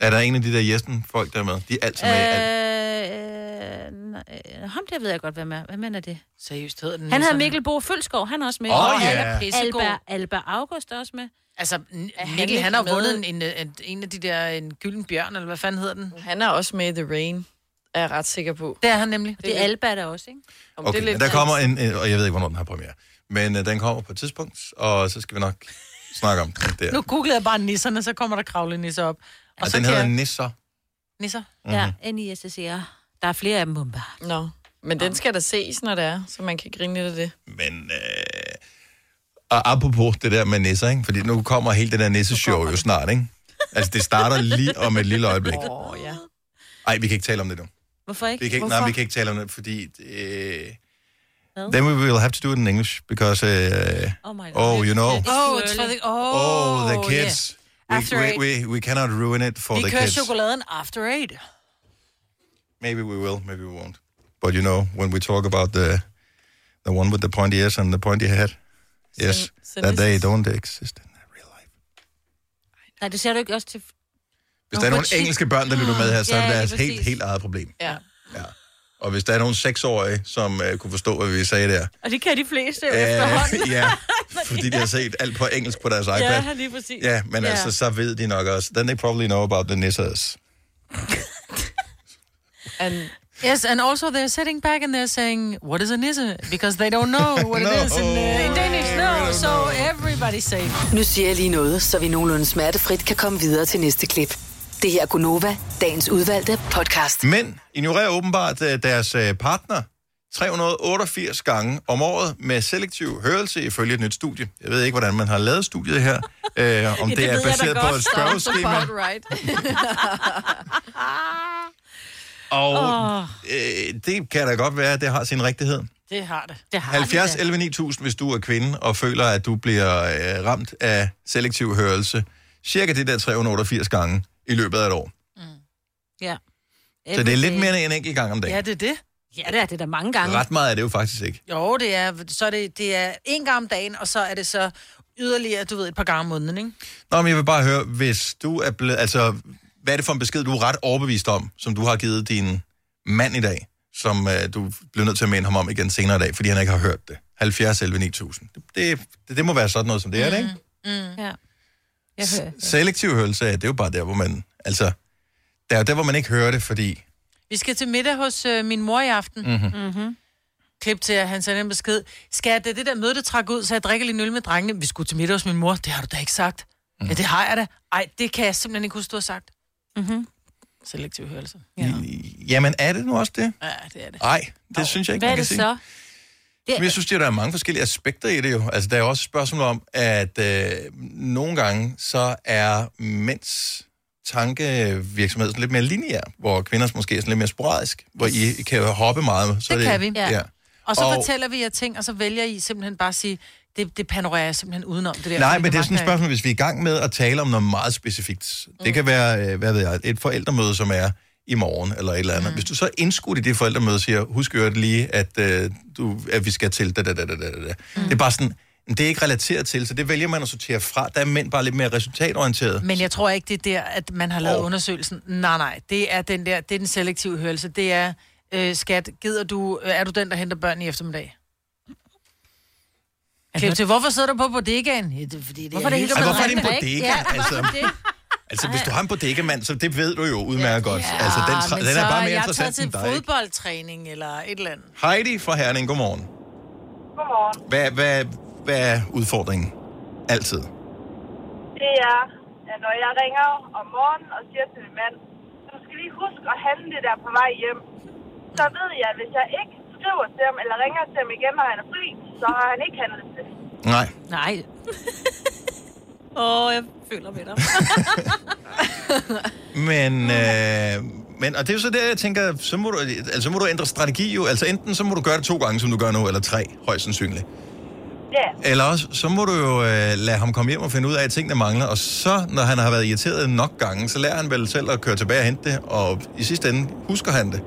A: Er der en af de der Jessen-folk, der er med? De er altid med. i alt.
B: Øh, øh, nej, øh, ham der ved jeg godt, hvem er. Hvem er det?
C: Seriøst hedder den.
A: Ligesom-
B: Han
C: Nisserne.
B: hedder Mikkel Bo Følsgaard, han er også med.
C: Åh,
B: Og
C: ja.
B: Albert-
C: Pissegod.
B: Albert, Albert August er også med.
C: Altså, Mikkel,
B: han
C: han,
B: ikke
C: har
B: med?
C: vundet en, en, en, en af de der, en gylden bjørn, eller hvad fanden hedder den?
D: Han er også med i The Rain, er jeg ret sikker på.
C: Det er han nemlig.
B: Det er Alba der også, ikke?
D: Om
A: Okay, men der kommer en, en- og jeg ved ikke, hvornår den har premiere, men øh, den kommer på et tidspunkt, og så skal vi nok snakke om den der.
C: Nu googlede jeg bare nisserne, så kommer der kravle nisser op.
A: Og
C: så
A: den
C: kan
A: hedder
C: jeg-
A: Nisser.
C: Nisser?
A: Mhm.
B: Ja, N-I-S-S-E-R. E Der er flere af dem, Bumba.
D: Nå, men den skal der ses, når det er, så man kan grine lidt af det.
A: Men øh, og apropos det der med nisser, ikke? fordi nu kommer hele det der nisseshow jo snart, ikke? Altså, det starter lige om et lille øjeblik.
D: Åh, oh, ja.
A: Nej, vi kan ikke tale om det nu.
B: Hvorfor ikke?
A: Vi kan ikke,
B: Hvorfor?
A: nej, vi kan ikke tale om det, fordi... Øh,
B: Hvad?
A: then we will have to do it in English, because... Øh,
B: Oh my
A: oh, you know.
C: Oh, it's for the, oh,
A: Oh, the kids.
C: yeah.
A: We,
C: After
A: we,
C: eight.
A: we, we cannot ruin it for
C: Vi
A: the
C: kører
A: kids.
C: chokoladen after eight.
A: Maybe we will, maybe we won't. But you know, when we talk about the the one with the pointy ears and the pointy head, yes,
B: so
A: that
B: this
A: they
B: is-
A: don't exist.
B: Nej, det ser du ikke også til...
A: Hvis
B: Nå,
A: der er
B: på
A: nogle
B: chi-
A: engelske børn, der lytter med her, så er
B: Ja,
A: det
B: lige
A: deres helt,
B: præcis.
A: helt eget problem.
B: Ja.
A: Og hvis der er nogle seksårige, som uh, kunne forstå, hvad vi sagde der,
B: Og det kan de fleste jo
A: Øh,
B: efterhånden.
A: ja, fordi de har set alt på engelsk på deres iPad.
B: Ja, lige præcis.
A: Ja, men altså, så ved de nok også. Then they probably know about the nissers.
D: And
C: yes, and also they're sitting back and they're saying, "What is a nisse?" Because they don't know what it is in, uh, in Danish. No, so everybody's safe.
M: Nu siger jeg lige noget, så vi nogenlunde smertefrit kan komme videre til næste klip. Det her er Gunova, dagens udvalgte podcast.
A: Mænd ignorerer åbenbart øh, deres øh, partner 388 gange om året med selektiv hørelse ifølge et nyt studie. Jeg ved ikke, hvordan man har lavet studiet her. Øh, om det, det er baseret på et spørgeskema.
D: right.
A: Og
C: Åh.
A: øh, det kan da godt være, at det har sin rigtighed.
C: Det har det. det har
A: 70
C: det.
A: 11 9000, hvis du er kvinde og føler, at du bliver øh, ramt af selektiv hørelse. Cirka det der 388 gange i løbet af et år.
B: Ja.
A: Så det er lidt
B: Everyday.
A: mere end en enkelt gang om dagen.
C: Ja, det er det.
B: Ja, det er det der mange gange.
A: Ret meget er det jo faktisk ikke.
C: Jo, det er, så er det, det er en gang om dagen, og så er det så yderligere, du ved, et par gange om måneden, ikke?
A: Nå, men jeg vil bare høre, hvis du er blevet... Altså, hvad er det for en besked, du er ret overbevist om, som du har givet din mand i dag, som øh, du bliver nødt til at minde ham om igen senere i dag, fordi han ikke har hørt det? 70 11 9000. Det, det, det må være sådan noget, som det er, det, ikke?
B: Mm. Ja. Jeg hører.
A: Selektiv hørelse, det er jo bare der, hvor man... Altså, der er jo der, hvor man ikke hører det, fordi...
C: Vi skal til middag hos øh, min mor i aften.
A: Mhm.
C: Mm-hmm. Klip til, at han sender en besked. Skal det det der møde, der trak ud, så jeg drikker lige en øl med drengene? Vi skulle til middag hos min mor. Det har du da ikke sagt. Mm.
A: Mhm.
C: Ja, det har jeg da. Ej, det kan jeg simpelthen ikke huske, du har sagt. Mm-hmm. Selektiv hørelse. Ja.
A: Jamen, er det nu også det?
C: ja, det er det.
A: Nej, det synes jeg ikke,
B: Hvad er
A: man kan
B: det
A: sige.
B: så? Det
A: Men jeg synes, det er- der er mange forskellige aspekter i det jo. Altså, der er jo også et spørgsmål om, at øh, nogle gange, så er mænds tankevirksomhed sådan lidt mere lineær, hvor kvinders måske er sådan lidt mere sporadisk, hvor I kan hoppe meget. Så
C: Det kan vi.
A: Ja.
C: Og så og... fortæller vi jer ting, og så vælger I simpelhen bare at sige, det, det panorerer jeg simpelthen udenom det der.
A: Nej,
C: fordi
A: men det er
C: magter
A: sådan et
C: jeg
A: spørgsmål, hvis vi er i gang med at tale om noget meget specifikt. Det kan være, øh, hvad ved jeg, et forældremøde, som er, i morgen, eller et eller andet. Mm. Hvis du så er indskudt i det forældremøde og siger, husk jo lige, at, øh, du, at vi skal til da, da, da, da, da. da." Det er bare sådan, det er ikke relateret til, så det vælger man at sortere fra. Der er mænd bare lidt mere resultatorienteret.
C: Men jeg tror ikke, det er der, at man har lavet undersøgelsen. Nej, nej, det er den der, det er den selektive hørelse. Det er, øh, skat, gider du, øh, er du den, der henter børn i eftermiddag? Klip til, hvorfor sidder du på bodegaen? Ja, det, er fordi det
B: Hvorfor er det hele
A: Ej,
B: blevet
A: hvorfor er det en
B: rent, ikke?
A: bodega?
B: Ja,
A: altså,
B: hvorfor det?
A: altså, hvis du har en bodegemand, så det ved du jo udmærket godt. Altså, den,
C: Ah,
A: tra-
C: men
A: den er
C: så
A: bare mere
C: jeg har taget
A: interessant
C: til
A: end dig. ikke?
C: fodboldtræning eller et eller andet.
A: Heidi fra Herning, godmorgen.
N: Godmorgen.
A: Hvad, hvad, hvad er udfordringen? Altid.
N: Det er, at når jeg ringer om morgenen og siger til min mand, du skal lige huske at handle det der på vej hjem, så ved jeg, at hvis jeg ikke skriver til ham eller ringer til ham igen, når han er fri, så har han ikke handlet det.
A: Nej.
B: Nej. Åh, oh, jeg føler med dig.
A: Men, øh, men, og det er jo så der, jeg tænker, så må, du, altså, så må du ændre strategi jo. Altså enten så må du gøre det to gange, som du gør nu, eller tre, højst sandsynligt.
N: Ja.
A: Eller også, så må du jo øh, lade ham komme hjem og finde ud af, at tingene mangler. Og så, når han har været irriteret nok gange, så lærer han vel selv at køre tilbage og hente det. Og i sidste ende husker han det.
N: Øh,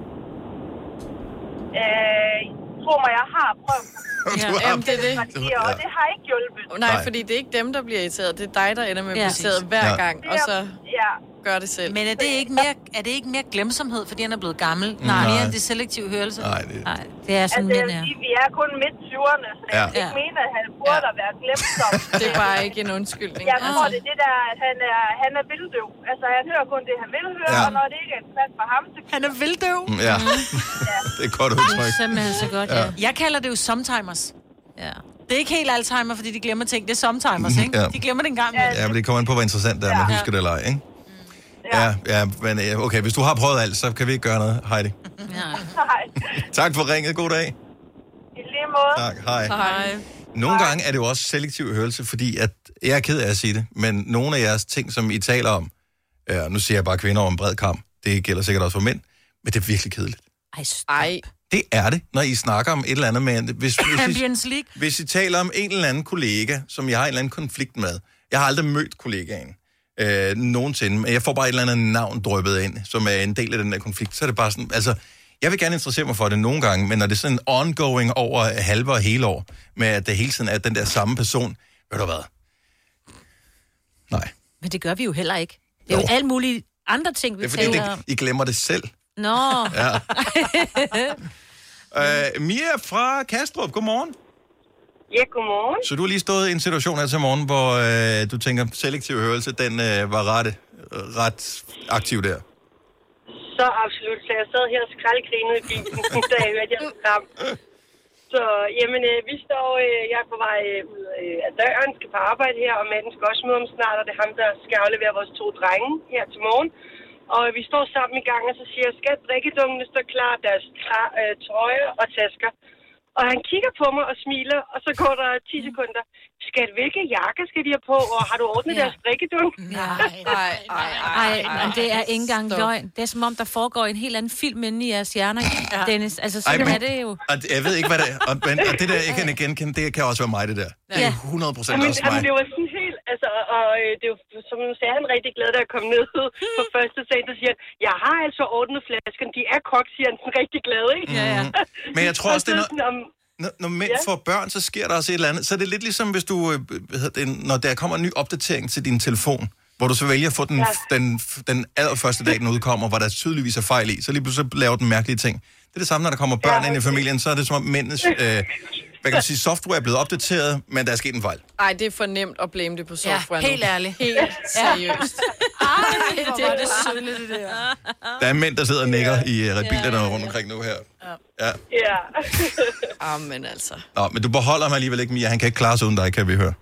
N: tro mig, jeg har prøvet.
A: Du har-
D: jamen, det er det.
N: strategier, Og det har ikke hjulpet.
D: Nej,
A: Nej.
D: fordi det er ikke dem, der bliver irriteret. Det er dig, der ender med at
C: Ja.
D: blive irriteret hver
A: Ja.
D: gang, og så
N: ja.
D: gør det selv.
C: Men er det ikke mere, er det ikke mere glemsomhed, fordi han er blevet gammel?
A: Mm,
C: Nej,
A: nej.
C: nej. mere det selektive hørelse.
A: Nej, det...
C: nej det er sådan
N: Altså, jeg
C: altså,
N: vil
C: lidt,
N: sige, vi er kun midt 20'erne, så jeg
C: Ja.
N: ja. ikke mene, at han burde ja. være glemt som.
D: Det er bare ikke en undskyldning.
N: Jeg tror, det er det der, at han er, han er vilddøv. Altså, han hører kun det, han vil høre,
A: Ja.
N: ja. og når det ikke er interessant for ham, så...
C: Han er vilddøv.
A: Mm, Ja, det er et godt udtryk.
C: Simpelthen så godt,
A: ja.
C: ja.
A: Ja.
C: Jeg kalder det jo somtimers. Ja. Det er ikke helt Alzheimer, fordi de glemmer ting. Det er somtimers, ikke?
A: Mhm. Ja.
C: De glemmer det engang.
A: Ja, men det kommer an på, hvor interessant det er, om man
C: Ja.
A: husker det eller ej, ikke? Ja, ja, men øh, okay, hvis du har prøvet alt, så kan vi ikke gøre noget, Heidi.
N: Nej,
A: Tak for ringet. God dag.
N: i lige måde.
A: Tak, hej.
D: Ah,
N: Hej.
A: Nogle gange er det jo også selektiv hørelse, fordi at, jeg er ked af at sige det, men nogle af jeres ting, som I taler om, øh, nu siger jeg bare kvinder over en bred kamp, det gælder sikkert også for mænd, men det er virkelig kedeligt.
B: Ej,
D: Ej.
A: Det er det, når I snakker om et eller andet med... Hvis, hvis, I,
C: Champions League.
A: hvis I taler om en eller anden kollega, som jeg har en eller anden konflikt med, jeg har aldrig mødt kollegaen øh, nogensinde, men jeg får bare et eller andet navn drøbet ind, som er en del af den der konflikt, så er det bare sådan, altså, jeg vil gerne interessere mig for det nogle gange, men når det er sådan ongoing over halve og hele år, med at det hele tiden er den der samme person, ved du hvad,
B: Men det gør vi jo heller ikke. Det er jo,
A: Jo.
B: alle mulige andre ting, vi
A: det er fordi,
B: taler om.
A: det, I glemmer det selv.
B: Nå.
A: Ja. øh, Mia fra Kastrup, godmorgen.
O: Ja, godmorgen.
A: Så du har lige stået i en situation her til morgen, hvor øh, du tænker, selektiv hørelse, den øh, var ret, ret aktiv der.
O: Så absolut. Så jeg sad her og skraldgrinede i bilen, da jeg hørte jeres program. Så jamen, øh, vi står, øh, jeg er på vej øh, ud øh, af døren, skal på arbejde her, og manden skal også møde om snart, og det er ham, der skal aflevere vores to drenge her til morgen. Og øh, vi står sammen i gang, og så siger jeg, skal drikkedungene stå klar, deres tra- øh, trøjer og tasker? Og han kigger på mig og smiler, og så går der 10 sekunder. Skat, hvilke jakker skal de have på, og har du ordnet ja. deres drikkedung?
B: Nej,
D: nej, nej,
B: Ej, men det er ikke engang løgn. Det er som om, der foregår en helt anden film inde i jeres hjerner, Dennis. Altså, sådan
A: men-
B: er det jo.
A: Og det- jeg ved ikke, hvad det er. Og, men, og det der, jeg kan ikke genkende, det kan også være mig, det der. Det er 100 procent
O: Jamen,
A: også
O: jamen,
A: mig.
O: det var sådan helt, altså, og, og øh, det var, som du sagde, han rigtig glad, da jeg kom ned på første sag, der siger han, jeg har altså ordnet flaskerne, de er kok, siger han sådan rigtig glad, ikke?
A: Ja, ja. Men jeg tror også, det er noget-
O: noget...
A: Når, når mænd
O: Ja.
A: ja. får børn, så sker der også et eller andet. Så er det lidt ligesom, hvis du, øh, hvad hedder det, når der kommer en ny opdatering til din telefon, hvor du så vælger at få den,
O: Ja.
A: ja. den, den allerførste dag, den udkommer, hvor der tydeligvis er fejl i, så lige pludselig så laver den mærkelige ting. Det er det samme, når der kommer børn ja, ind i familien, så er det som om mændenes, øh, hvad kan man sige, software er blevet opdateret, men der er sket en fejl.
D: Ej, det er for nemt at blame det på software
C: helt
D: nu.
C: ærligt.
D: Helt
C: Ja.
D: seriøst.
C: Ej,
D: hvor var det sølle,
C: det der.
A: Der er mænd, der sidder og nikker i øh, bilerne rundt omkring nu her. Ja.
O: Ja.
D: Amen altså.
A: Nå, men du beholder ham alligevel ikke, Mia. Han kan ikke klare sig uden dig, kan vi høre.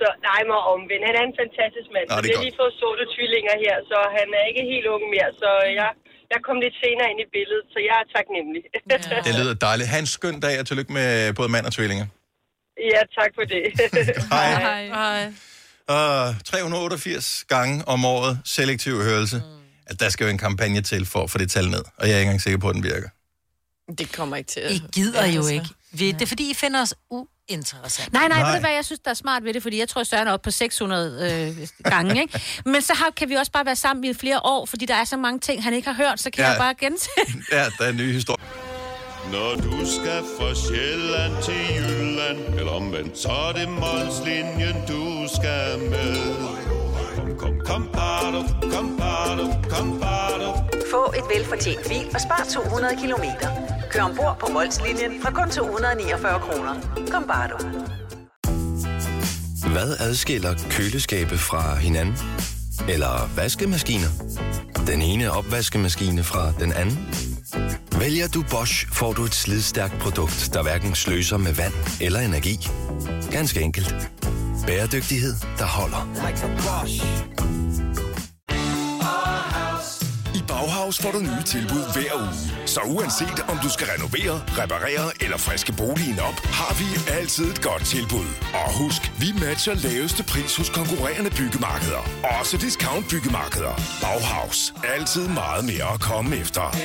O: Så nej, mig omvendt. Han er en fantastisk mand.
A: Nå, det er
O: vi har
A: godt.
O: lige fået sorte tvillinger her, så han er ikke helt ung mere, så øh, jeg, jeg kom lidt senere ind i billedet, så jeg er taknemmelig. Ja,
A: Det lyder dejligt. Ha' en skøn dag, og tillykke med både mand og tvillinger.
O: ja tak for det.
A: Hej.
D: Hej.
A: Uh, 388 gange om året selektiv hørelse. Mm. Altså, der skal jo en kampagne til for at få det tal ned, og jeg er ikke engang sikker på, at den virker.
D: Det kommer ikke til at... altså.
C: I gider jo ikke. Vi, det er fordi, I finder os u- interessant.
B: Nej, nej, nej, ved du hvad, jeg synes, der er smart ved det, fordi jeg tror, Søren er oppe på 600 øh, gange, ikke? Men så har, kan vi også bare være sammen i flere år, fordi der er så mange ting, han ikke har hørt, så kan
A: Ja.
B: ja. jeg bare gentage.
A: Ja, der er en ny historie.
P: Når du skal fra Sjælland til Jylland, eller omvendt, så er det Molslinjen, du skal med. Kom, kom, kom, bado, kom, bado, kom, bado.
Q: Få et velfortjent bil og spar 200 kilometer. Kør ombord på Molslinjen fra kun 249 kroner. Kom bare du.
R: Hvad adskiller køleskabe fra hinanden? Eller vaskemaskiner? Den ene opvaskemaskine fra den anden? Vælger du Bosch, får du et slidstærkt produkt, der hverken sløser med vand eller energi. Ganske enkelt. Bæredygtighed, der holder.
S: I Bauhaus får du nye tilbud hver uge. Så uanset om du skal renovere, reparere eller friske boligen op, har vi altid et godt tilbud. Og husk, vi matcher laveste pris hos konkurrerende byggemarkeder. Også discount byggemarkeder. Bauhaus. Altid meget mere at komme efter.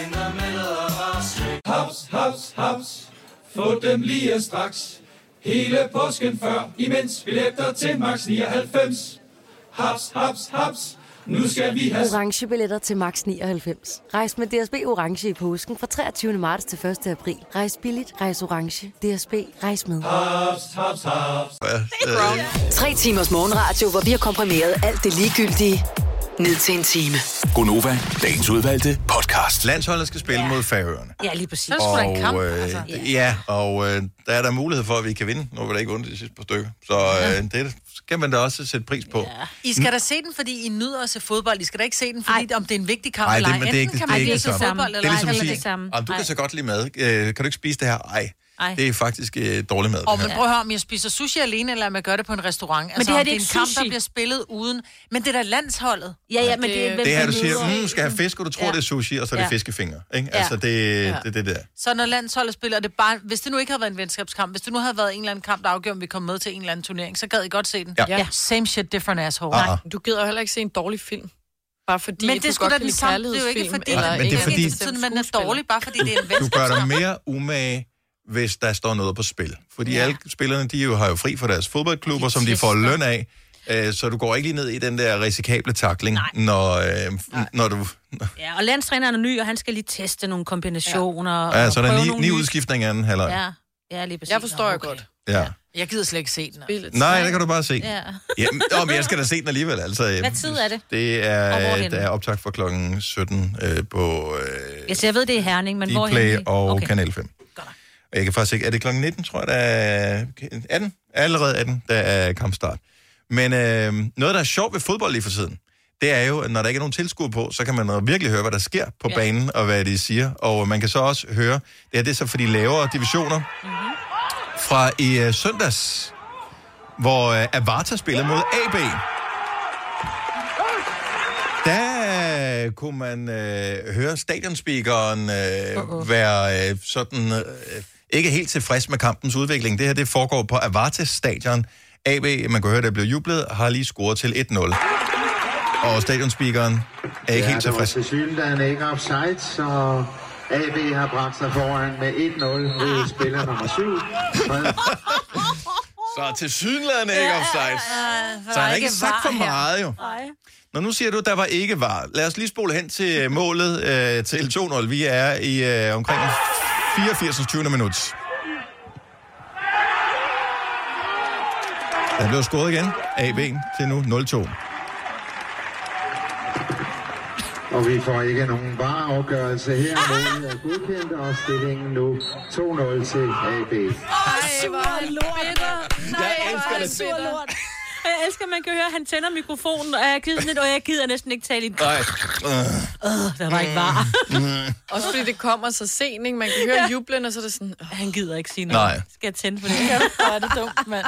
T: Haps, haps, haps. Få dem lige straks. Hele påsken før, imens billetter til max 99. Haps, haps, haps. Nu skal vi have...
U: orange billetter til max 99. Rejs med DSB orange i påsken fra 23. marts til 1. april. Rejs billigt, rejs orange. DSB rejs med.
T: Haps, haps, haps.
M: Tre timers morgenradio, hvor vi har komprimeret alt det ligegyldige ned til en time.
E: Gonova, dagens udvalgte podcast.
A: Landsholdet skal spille mod Færøerne.
B: Ja, lige præcis.
A: Og,
C: altså.
A: øh, ja, og øh, der er der mulighed for, at vi kan vinde. Nu var der ikke ondt de sidste par stykker. Så øh, det skal man da også sætte pris på. Ja.
C: I skal da se den, fordi I nyder at se fodbold. I skal da ikke se den, fordi Ej. om det er en vigtig kamp
A: Nej,
C: eller
A: det,
C: ej.
A: men det er ikke
C: Enten kan
A: det, det, er
C: man
A: ikke
C: lide
A: det
C: at se
A: samme.
C: fodbold,
A: Det
C: eller
A: er
C: ej.
A: ligesom at
C: Eller det
A: sige,
C: samme.
A: "Jamen, du
C: Ej.
A: kan så godt lide mad. Øh, kan du ikke spise det her? Ej.
C: Ej.
A: Det er faktisk øh, dårlig mad. det
C: Og
A: her.
C: men prøv at høre, om jeg spiser sushi alene, eller om jeg gør det på en restaurant. Men altså,
B: det her,
C: om det
B: det er
C: er en
B: ikke
C: kamp, der
B: sushi.
C: bliver spillet uden... Men det er da landsholdet.
B: Ja, ja, men det er- hvem
A: Det her, du siger, mm, skal jeg have fisk, og du tror,
C: Ja.
A: det er sushi, og så er det
C: Ja.
A: fiskefinger. Ikke?
C: Ja.
A: Altså, det,
C: Ja.
A: det er det der.
C: Så når landsholdet spiller, er det bare, hvis det nu ikke havde været en venskabskamp, hvis det nu havde været en eller anden kamp, der afgjorde, om vi kom med til en eller anden turnering, så gad I godt se den.
A: Ja. Ja.
C: Same shit, different asshole.
A: Ah, ah.
D: Du gider jo heller ikke se en dårlig film. Bare fordi,
C: Men
D: at
C: det er
D: du
C: sgu
D: godt
C: da
D: kan
C: den
D: lide
C: samme. Det er jo ikke
D: kærlighedsfilm,
C: fordi-
D: eller
C: Nej, men
D: en
A: det er
D: eller
A: fordi-
D: anden bestemt
C: Sådan, man er dårlig, bare fordi det er en
A: Du
C: venskabskamp.
A: gør dig mere umage, hvis der står noget på spil. Fordi ja. alle spillerne, de jo har jo fri for deres fodboldklubber, som de får løn af. Øh, Så du går ikke lige ned i den der risikable takling, når, øh, når du...
B: Ja, og landstræneren er ny, og han skal lige teste nogle kombinationer.
A: Ja,
B: og
A: så er Altså, der
B: prøve
A: ni,
B: nogle
A: ni
B: nye-
A: udskiftninger i anden halvleg. Ja.
B: Ja, ja, lige præcis.
D: Jeg forstår
B: Nå,
D: jeg
B: okay.
D: godt.
A: ja.
C: Jeg gider slet ikke se den.
A: Nej, det kan du bare se.
B: Ja.
A: Jamen, nå, men jeg skal da se den alligevel. Altså, øh,
B: Hvad tid er det?
A: Det
B: Og
A: er,
B: hvorhenne?
A: der er optag fra klokken 17 øh, på øh,
B: Altså, jeg ved, det er Herning, men hvor
A: Dplay og okay. Kanal 5. Og jeg kan faktisk ikke... Er det klokken 19, tror jeg, der er... 18? Allerede 18, der er kampstart. Men øh, noget, der er sjovt ved fodbold lige for tiden, det er jo, at når der ikke er nogen tilskuer på, så kan man øh, virkelig høre, hvad der sker på ja. banen, og hvad de siger. Og man kan så også høre, det her det er så for de lavere divisioner, mm-hmm.
B: Mhm.
A: fra i øh, søndags, hvor øh, Avarta spillede mod AB. Der øh, kunne man øh, høre stadionspeakeren øh, uh-uh. være øh, sådan øh, ikke helt tilfreds med kampens udvikling. Det her det foregår på Avartes stadion. AB, man kan høre, der blev jublet, har lige scoret til 1-0. Og stadionspeakeren er ikke ja, helt tilfreds.
V: Ja, der var ikke offside, så AB har bragt sig foran med 1-0 ved spiller nummer 7.
A: Så til sydenlandet ikke offside. Så han har ikke sagt for meget, jo. Nå, nu siger du, der var ikke var. Lad os lige spole hen til øh, målet øh, til 2-0. Vi er i øh, omkring 84. 20. minut. Der blev scoret igen. AB til nu 0-2.
V: Og vi får ikke nogen bare afgørelse her.
A: Ah!
V: Målet er godkendt, og stillingen nu 2-0 til AB.
B: Ej, hvor er det lort. Nej, jeg elsker det. Sur lort. Og jeg elsker, at man kan høre, at han tænder mikrofonen, og jeg gider sådan lidt, og jeg gider næsten ikke tale i den.
A: Nej. Mm.
B: Øh, der var ikke var.
D: Også fordi det kommer så sent, ikke? Man kan høre jublen, og så er det sådan...
B: Han gider ikke sige
A: noget. Nej.
B: Skal jeg tænde for det? Kan du gøre det dumt, mand?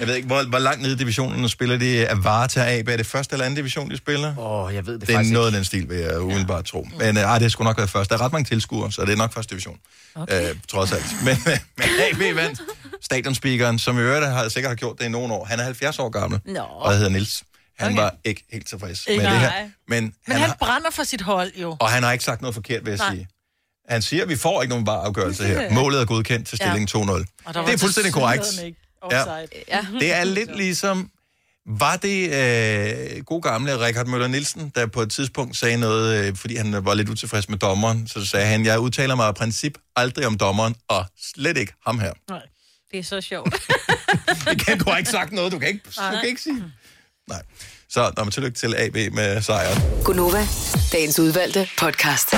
A: Jeg ved ikke, hvor, hvor langt nede i divisionen spiller de Avarta AB. Er det første eller anden division, de spiller? Åh, oh, jeg ved det Det er
W: faktisk
A: noget af den stil, vil jeg umiddelbart tro. Men øh, ej, det skulle nok være første. Der er ret mange tilskuere, så det er nok første division. Okay. Øh, trods alt. Men, øh, men AB vandt. Stadionspeakeren, som i øvrigt har sikkert har gjort det i nogle år. Han er 70 år gammel,
C: Nå.
A: og hedder Nils. Han okay. var ikke helt tilfreds
C: Ikke
A: med det her.
C: nej.
A: Men,
C: Men han, brænder for sit hold, jo.
A: og han har ikke sagt noget forkert, vil jeg
C: Nej.
A: sige. Han siger, at vi får ikke nogen varafgørelse her. Målet er godkendt til stilling 2-0.
C: Og
A: Det
C: der var
A: er fuldstændig korrekt.
C: tilsyneladende ikke
A: Ja.
C: offside.
A: Det er lidt ligesom, var det øh, god gamle Richard Møller Nielsen, der på et tidspunkt sagde noget, øh, fordi han var lidt utilfreds med dommeren, så sagde han, jeg udtaler mig af princip aldrig om dommeren, og slet ikke ham her.
B: Nej. Det er så sjovt.
A: Det kan, du har ikke sagt noget, du kan ikke, du kan ikke sige. Så når man tillykke til AB med sejren.
M: Gunova, dagens udvalgte podcast.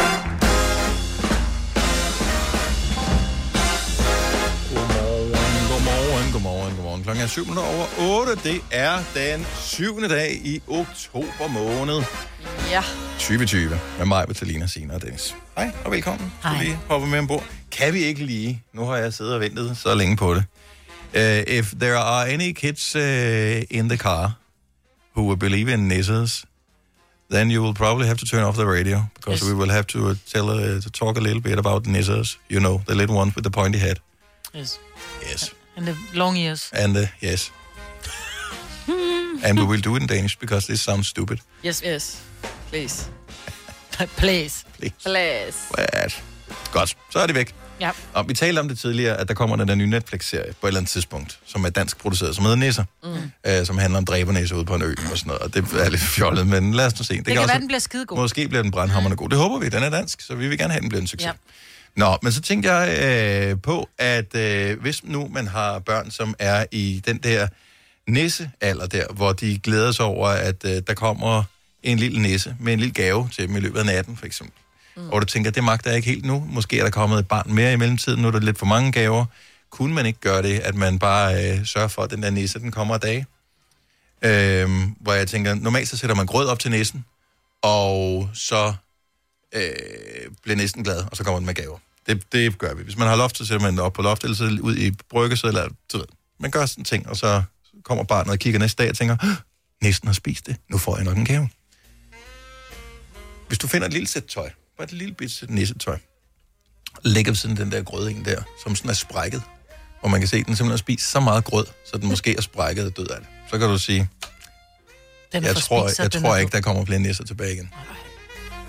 A: Godmorgen, godmorgen, godmorgen. Klokken er 7 over 8. Det er den 7. dag i oktober måned
D: Ja.
A: 2020. Med mig, Bettelina, Sina og Dennis. Hej og velkommen. Skal vi lige hoppe med ombord? Kan vi ikke lige? Nu har jeg siddet og ventet så længe på det. Uh, if there are any kids uh, in the car who will believe in nisses, then you will probably have to turn off the radio because we will have to uh, tell uh, to talk a little bit about nisses. You know, the little ones with the pointy head.
C: Yes.
A: Yes.
C: And the long years.
A: And uh, yes. and we will do it in Danish because this sounds stupid.
D: Yes. Yes. Please.
C: Please.
D: Please.
A: But... Godt, så er det væk.
C: Ja.
A: Og vi talte om det tidligere, at der kommer den der nye Netflix-serie på et eller andet tidspunkt, som er dansk produceret, som hedder Nisser,
C: Mm.
A: øh, som handler om dræbernæser ude på en ø og sådan noget. Og det er lidt fjollet, men lad os nu se.
C: Det, det kan, kan være, den bliver skidegod.
A: Måske bliver den brandhammerne god. Det håber vi, den er dansk, så vi vil gerne have, den bliver en succes.
C: Ja.
A: Nå, men så tænkte jeg øh, på, at øh, hvis nu man har børn, som er i den der nissealder der, hvor de glæder sig over, at øh, der kommer en lille nisse med en lille gave til dem i løbet af natten, for eksempel. Mm. Og du tænker, det magter jeg ikke helt nu. Måske er der kommet et barn mere i mellemtiden, nu er der lidt for mange gaver. Kunne man ikke gøre det, at man bare øh, sørger for, at den der nisse, den kommer af dage? Øhm, hvor jeg tænker, normalt så sætter man grød op til næsen, og så øh, bliver næsten glad, og så kommer den med gaver. Det, det gør vi. Hvis man har loft, så sætter man den op på loft, eller så ud i brygge, eller du ved, man gør sådan ting, og så kommer barnet og kigger næste dag og tænker, "Åh, næsten har spist det, nu får jeg nok en gave. Hvis du finder et lille sæt tøj, bare et lille bit sæt nissetøj, lægger ved siden af den der grød en der, som sådan er sprækket, og man kan se, at den simpelthen har spist så meget grød, så den måske er sprækket og død af det. Så kan du sige,
C: Den er
A: jeg
C: for
A: tror,
C: spist, så
A: jeg
C: den
A: tror
C: er
A: ikke, der kommer flere nisser tilbage igen.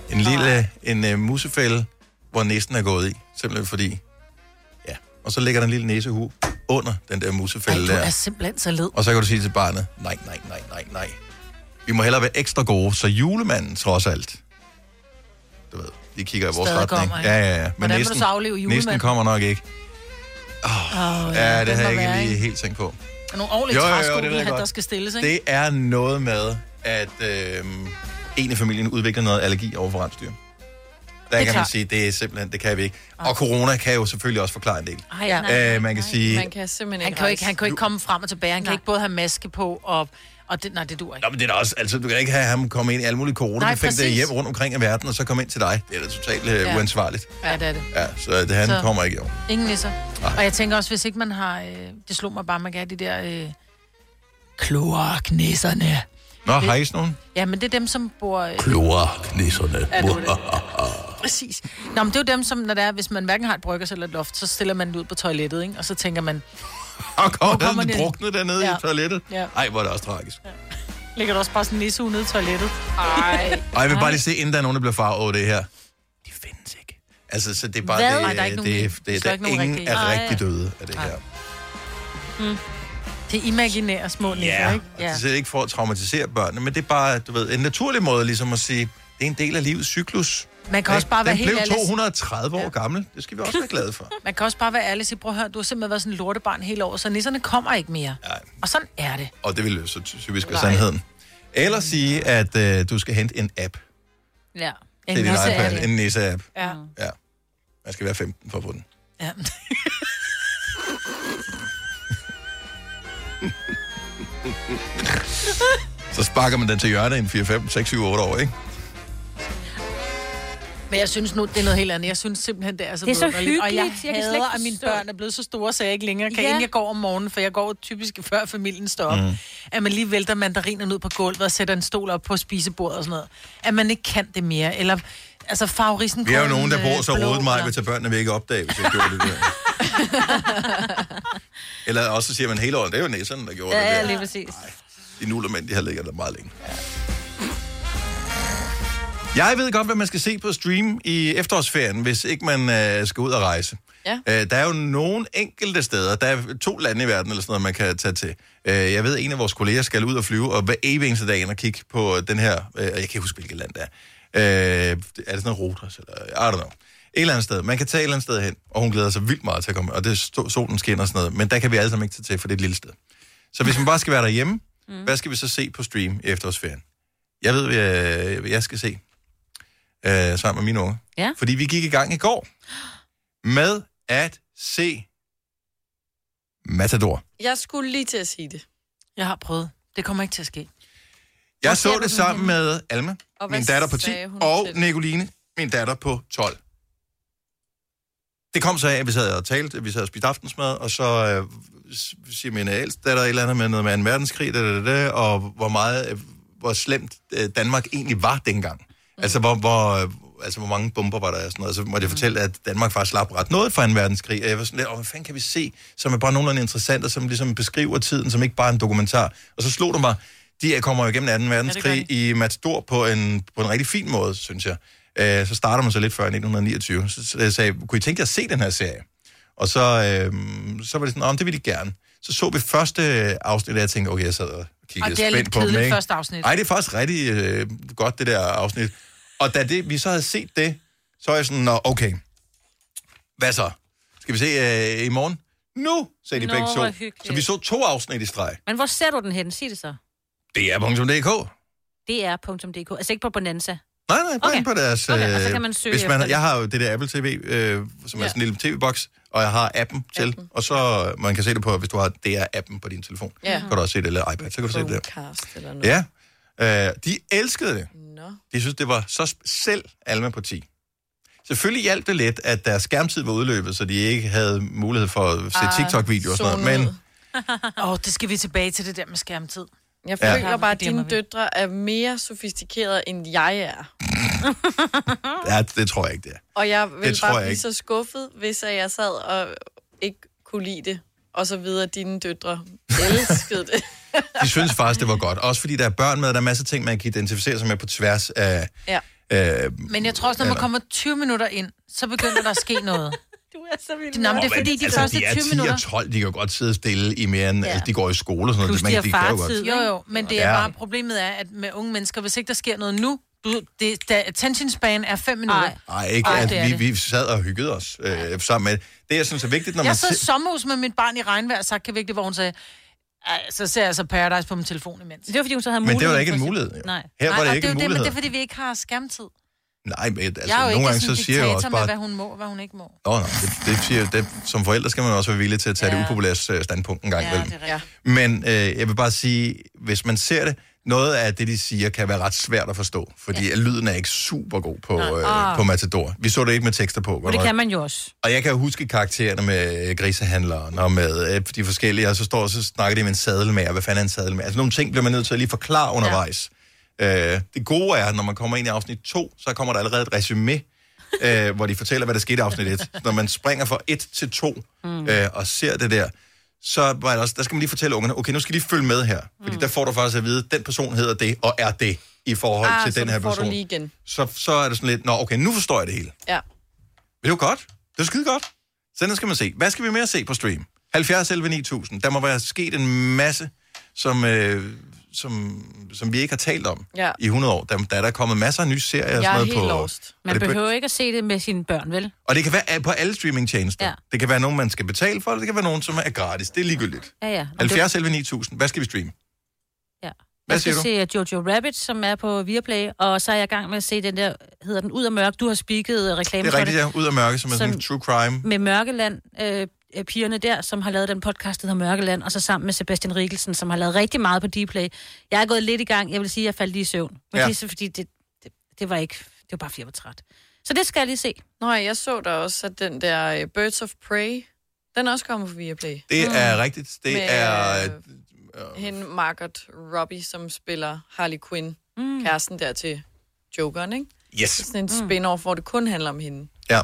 A: En lille en, uh, musefælde, hvor næsten er gået i, simpelthen fordi... Ja, og så ligger der en lille næsehu under den der musefælde
C: Du
A: der.
C: er simpelthen så led.
A: Og så kan du sige til barnet, nej, nej, nej, nej, nej. Vi må hellere være ekstra gode, så julemanden trods alt, du ved, de kigger i vores
C: Stadig
A: retning.
C: kommer, ikke?
A: ja, ja, ja. Men
C: Hvordan vil du
A: næsten,
C: så aflive
A: næsten
C: julemanden?
A: kommer nok ikke.
C: Oh,
A: Ja, ja det har jeg ikke lige helt tænkt på.
C: Nogle ordentlige
A: Jo, jo, jo,
C: træsko,
A: det ved jeg
C: der
A: godt.
C: skal stilles, ikke?
A: Det er noget med, at øh, en i familien udvikler noget allergi over for rensdyr.
C: er
A: Der kan man
C: klart.
A: sige, det er simpelthen, det kan vi ikke. Og corona kan jo selvfølgelig også forklare en del.
C: Ej, ja. Ah. Nej,
A: øh, man kan sige,
D: Man kan simpelthen
C: Han
D: ikke
C: kan, jo ikke, han kan jo ikke komme frem og tilbage. Han kan ikke både have maske på og... og det, nej, det dur ikke.
A: Nå, men det er da også, altså, du kan ikke have ham komme ind i alle mulige corona der
C: præcis.
A: hjem rundt omkring i verden, og så komme ind til dig. Det er da totalt øh,
C: Ja.
A: uansvarligt.
C: Ja, det er det.
A: Ja, så det, han
C: Så-
A: så... kommer ikke i år.
C: Ingen nisser. Og jeg tænker også, hvis ikke man har... Øh, det slog mig bare, man kan have de der... Øh, kloaknisserne.
A: Nå, har I sådan nogen?
C: Ja, men det er dem, som bor... Øh,
A: Kloaknisserne.
C: Ja, det var Præcis. Nå, men det er jo dem, som, når det er, hvis man hverken har et bryggers eller et loft, så stiller man det ud på toilettet, ikke? Og så tænker man,
A: Og
C: Hvor
A: kommer
C: kommer
A: ned,
C: det?
A: druknet dernede ja.
C: Ja.
A: i toilettet.
C: Ja.
A: Ej, hvor er det også tragisk.
C: ligger der også bare sådan en nissehue nede i toilettet? Ej.
A: Og jeg vil bare lige se, inden der er nogen, der bliver farvet over det her. De findes ikke. Altså, så det er bare
C: Hvad?
A: det, øh,
C: Nej, der er ikke
A: det,
C: nogen
A: det,
C: rigtige.
A: det, det,
C: Der er ikke nogen
A: ingen
C: rigtige.
A: er
C: Nej.
A: rigtig døde af det
C: Nej.
A: her.
C: Mm. Det er imaginære små nisser,
A: Ja, Altså,
C: ikke?
A: og det er ikke for at traumatisere børnene, men det er bare, du ved, en naturlig måde ligesom at sige, det er en del af livets cyklus.
C: Man kan også bare
A: den
C: være
A: blev
C: helt ærlig.
A: 230 år gammel. Det skal vi også være glade for.
C: Man kan også bare være ærlig og sige, prøv at høre, du har simpelthen været sådan en lortebarn hele året, så nisserne kommer ikke mere.
A: Nej.
C: Og sådan er det.
A: Og det vil jo så typisk være
C: Nej.
A: sandheden. Eller sige, at øh, du skal hente en app
B: Ja.
A: til din iPad. En nisse-app.
C: Ja.
A: Ja. Man skal være 15 for at få den.
C: ja.
A: Så sparker man den til hjørnet i en 4, 5, 6, 7, 8 år, ikke?
C: Men jeg synes nu, det er noget helt andet. Jeg synes simpelthen, det er så
B: Det er så
C: vidunderligt. Og jeg,
B: hyggeligt. Jeg kan slet
C: hader,
B: ikke
C: at mine
B: forstå
C: børn er blevet så store, så jeg ikke længere kan,
B: Ja.
C: ja. inden jeg går om morgenen, for jeg går typisk før familien står op,
B: Mm.
C: mm. at man lige vælter mandarinerne ud på gulvet og sætter en stol op på spisebordet og sådan noget. At man ikke kan det mere. Eller, altså, favorisen
A: Vi er jo nogen, der
B: øh,
A: bor så rodet mig, hvis at børnene vil ikke opdage, hvis jeg gjorde det der. Eller også så siger man hele året, det er jo næserne, der gjorde
B: Ja,
A: det
B: lige
A: der.
B: præcis.
A: De nullermænd, de har ligget der meget længe. Jeg ved godt, hvad man skal se på stream i efterårsferien, hvis ikke man øh, skal ud og rejse.
D: Ja.
A: Øh, der er jo nogle enkelte steder, der er to lande i verden eller sådan noget, man kan tage til. Øh, jeg ved, at en af vores kolleger skal ud og flyve, og hver evig eneste dag ind og kigge på den her, øh, jeg kan ikke huske, hvilket land det er. Øh, er det sådan noget Rotas, eller I don't know. Et eller andet sted. Man kan tage et eller andet sted hen, og hun glæder sig vildt meget til at komme, og det er sto- solen skinner og sådan noget, men der kan vi alle sammen ikke tage til, for det er et lille sted. Så hvis man bare skal være derhjemme, mm. hvad skal vi så se på stream i efterårsferien? Jeg ved, hvad øh, jeg skal se øh, sammen med mine unge.
B: Ja.
A: Fordi vi gik i gang i går med at se Matador.
D: Jeg skulle lige til at sige det.
C: Jeg har prøvet. Det kommer ikke til at ske.
A: Jeg så det sammen med Alma,
D: Og hvad
A: min datter på 10,
D: sagde hun
A: og
D: til det?
A: Nicoline, min datter på 12. Det kom så af, at vi sad og talte, vi sad og spiste aftensmad, og så øh, s- siger min ældste datter et eller andet med noget med en verdenskrig, da, da, da, da, og hvor meget, øh, hvor slemt øh, Danmark egentlig var dengang. Mm. Altså, hvor, hvor, øh, altså, hvor mange bomber var der og sådan noget. Så måtte jeg fortælle, at Danmark faktisk slap ret noget fra en verdenskrig. Og jeg var sådan lidt, "Åh, hvad fanden kan vi se, som er bare nogenlunde interessant, og som ligesom beskriver tiden, som ikke bare er en dokumentar. Og så slog det mig, de kommer jo igennem 2. verdenskrig ja, i Matador på en, på en rigtig fin måde, synes jeg. Øh, så starter man så lidt før i 1929. Så, så jeg sagde, kunne I tænke jer at se den her serie? Og så, øh, så var det sådan, om det ville de gerne. Så så vi første afsnit, og jeg tænkte, okay, jeg sad og
C: Og
A: kiggede
C: det er lidt
A: spændt på dem.
C: kedeligt,
A: ikke?
C: første afsnit.
A: Ej, det er faktisk rigtig øh, godt, det der afsnit. Og da det, vi så havde set det, så var jeg sådan, Nå, okay, hvad så? Skal vi se øh, i morgen? Nu, sagde de
B: Nå,
A: begge
B: hvor
A: to.
B: hyggeligt.
A: Så vi så to afsnit i streg.
B: Men hvor ser du den hen? Sig det så.
A: Det er .dk.
B: DR.dk. Altså ikke på Bonanza.
A: Nej, nej, bare okay. på deres...
B: Okay, og så
A: øh,
B: kan man søge
A: hvis
B: efter
A: man,
B: det.
A: Jeg har jo det der Apple TV, øh, som ja. er sådan en lille tv-boks, og jeg har appen til, appen. og så øh, man kan se det på, hvis du har DR-appen på din telefon.
D: Ja.
A: Kan du også se det, eller iPad, så kan du se det der.
D: Cast eller noget.
A: Ja. Øh, de elskede det. No. De synes, det var så sp- selv Alma på 10. Selvfølgelig hjalp det lidt, at deres skærmtid var udløbet, så de ikke havde mulighed for at se
C: Ah,
A: TikTok-videoer og sådan
C: zone
A: noget. Men
C: ud. Åh, oh, det skal vi tilbage til det der med skærmtid.
D: Jeg
A: Ja.
D: føler bare, at dine døtre er mere sofistikerede, end jeg er.
A: ja, det tror jeg ikke, det er.
D: Og jeg
A: Det
D: ville
A: tror
D: bare
A: jeg
D: blive
A: ikke.
D: så skuffet, hvis at jeg sad og ikke kunne lide det. Og så videre, at dine døtre elskede det.
A: De synes faktisk, det var godt. Også fordi der er børn med, og der er masser af ting, man kan identificere sig med på tværs af...
C: Ja.
A: Øh,
C: Men jeg tror også, når man
A: Eller-
C: kommer 20 minutter ind, så begynder der at ske noget.
B: Du er så vild.
C: Nå, men det er fordi, de første 20
A: altså, de er 10
C: minutter...
A: og 12, de kan jo godt sidde stille i mere end...
C: Ja.
A: Ja. Altså, de går i skole og sådan
C: Plus
A: noget.
C: de har
A: de kan jo godt-
C: fartid. Jo, jo, men det er
A: Ja.
C: bare problemet er, at med unge mennesker, hvis ikke der sker noget nu, du, det, da, attention span er fem minutter.
A: Nej, ikke.
C: Ej,
A: at
C: det er det.
A: vi, vi sad og hyggede os øh, sammen med... Det, jeg synes er vigtigt, når man...
C: jeg sad i
A: se-
C: sommerhus med mit barn i regnvejr, så kan vigtigt, hvor hun sagde, "Ej, så ser jeg så Paradise på min telefon imens. Det
B: var, fordi hun så havde
A: Men det var da ikke en mulighed. Jo.
C: Nej.
A: Her var
C: Nej,
A: det
C: og
A: ikke
C: det, er
A: en
C: jo det, men
A: mulighed.
C: det er, fordi vi ikke har skærmtid.
A: Nej, men altså,
C: jeg er jo
A: nogle
C: ikke
A: gange så
C: sådan en
A: siger jeg jo
C: diktator
A: også
C: med,
A: bare...
C: hvad hun må og hvad hun ikke må.
A: Åh, oh, nej, det, det siger, det, som forældre skal man også være villig til at tage ja. det upopulære øh, standpunkt en gang
C: Ja,
A: imellem.
C: det er rigtigt.
A: Men øh, jeg vil bare sige, hvis man ser det, noget af det, de siger, kan være ret svært at forstå, fordi ja. lyden er ikke super god på,
B: Nej.
A: øh,
B: Ah.
A: på Matador. Vi så det ikke med tekster på.
B: Og det kan man jo også.
A: Og jeg kan jo huske karaktererne med øh, grisehandleren og med øh, de forskellige, og så står og så snakker de med en sadelmager. Hvad fanden er en sadelmager? Altså nogle ting bliver man nødt til at lige forklare undervejs. Ja. Øh, det gode er, at når man kommer ind i afsnit 2, så kommer der allerede et resume, øh, hvor de fortæller, hvad der skete i afsnit 1. Når man springer fra 1 til 2
F: Mm.
A: øh, og ser det der, så var det også, der skal man lige fortælle ungerne, okay, nu skal de følge med her. Fordi mm. der får du faktisk at vide, at den person hedder det og er det i forhold
D: Ah,
A: til
D: så
A: den
D: nu
A: her
D: får du
A: person.
D: lige igen.
A: Så, så er det sådan lidt, nå okay, nu forstår jeg det hele.
D: Ja.
A: Men det var godt. Det var skide godt. Så den skal man se. Hvad skal vi mere se på stream? 70 11 9000. Der må være sket en masse, som, øh, som, som vi ikke har talt om
B: Ja.
A: i 100 år. Der, der er der kommet masser af nye serier. og
B: Jeg er
A: sådan noget
B: helt
A: på,
B: lost.
A: og
B: Man
A: det, be-
B: behøver ikke at se det med sine børn, vel?
A: Og det kan være på alle streamingtjenester.
B: Ja.
A: Ja. Det kan være nogen, man skal betale for, og det kan være nogen, som er gratis. Det er ligegyldigt.
B: Ja, ja. Og
A: 70 11 9000. Hvad skal vi streame?
B: Ja.
A: Hvad
B: jeg skal
A: siger du?
B: se uh, Jojo Rabbit, som er på Viaplay, og så er jeg i gang med at se den der, hedder den Ud af Mørk. Du har spiket uh, reklame
A: Det er
B: for
A: rigtigt,
B: det.
A: ja. Ud af mørke, som er sådan en true crime.
B: Med Mørkeland, øh, øh, pigerne der, som har lavet den podcast, der hedder Mørkeland, og så sammen med Sebastian Rikkelsen, som har lavet rigtig meget på Dplay. Jeg er gået lidt i gang. Jeg vil sige, at jeg faldt lige i søvn. Men
D: Ja.
B: ja. det er så fordi, det, det, det, var ikke... Det var bare, fordi jeg var træt. Så det skal jeg lige se.
D: Nå, jeg så da også, at den der øh, Birds of Prey, den er også kommet på Viaplay.
A: Det
B: Mm.
A: er rigtigt. Det
D: Med, øh,
A: er...
D: Hende Margaret Robbie, som spiller Harley Quinn, mm. kæresten der til Jokeren, ikke?
A: Yes.
D: Det er sådan en spin-off, hvor det kun handler om hende.
A: Ja.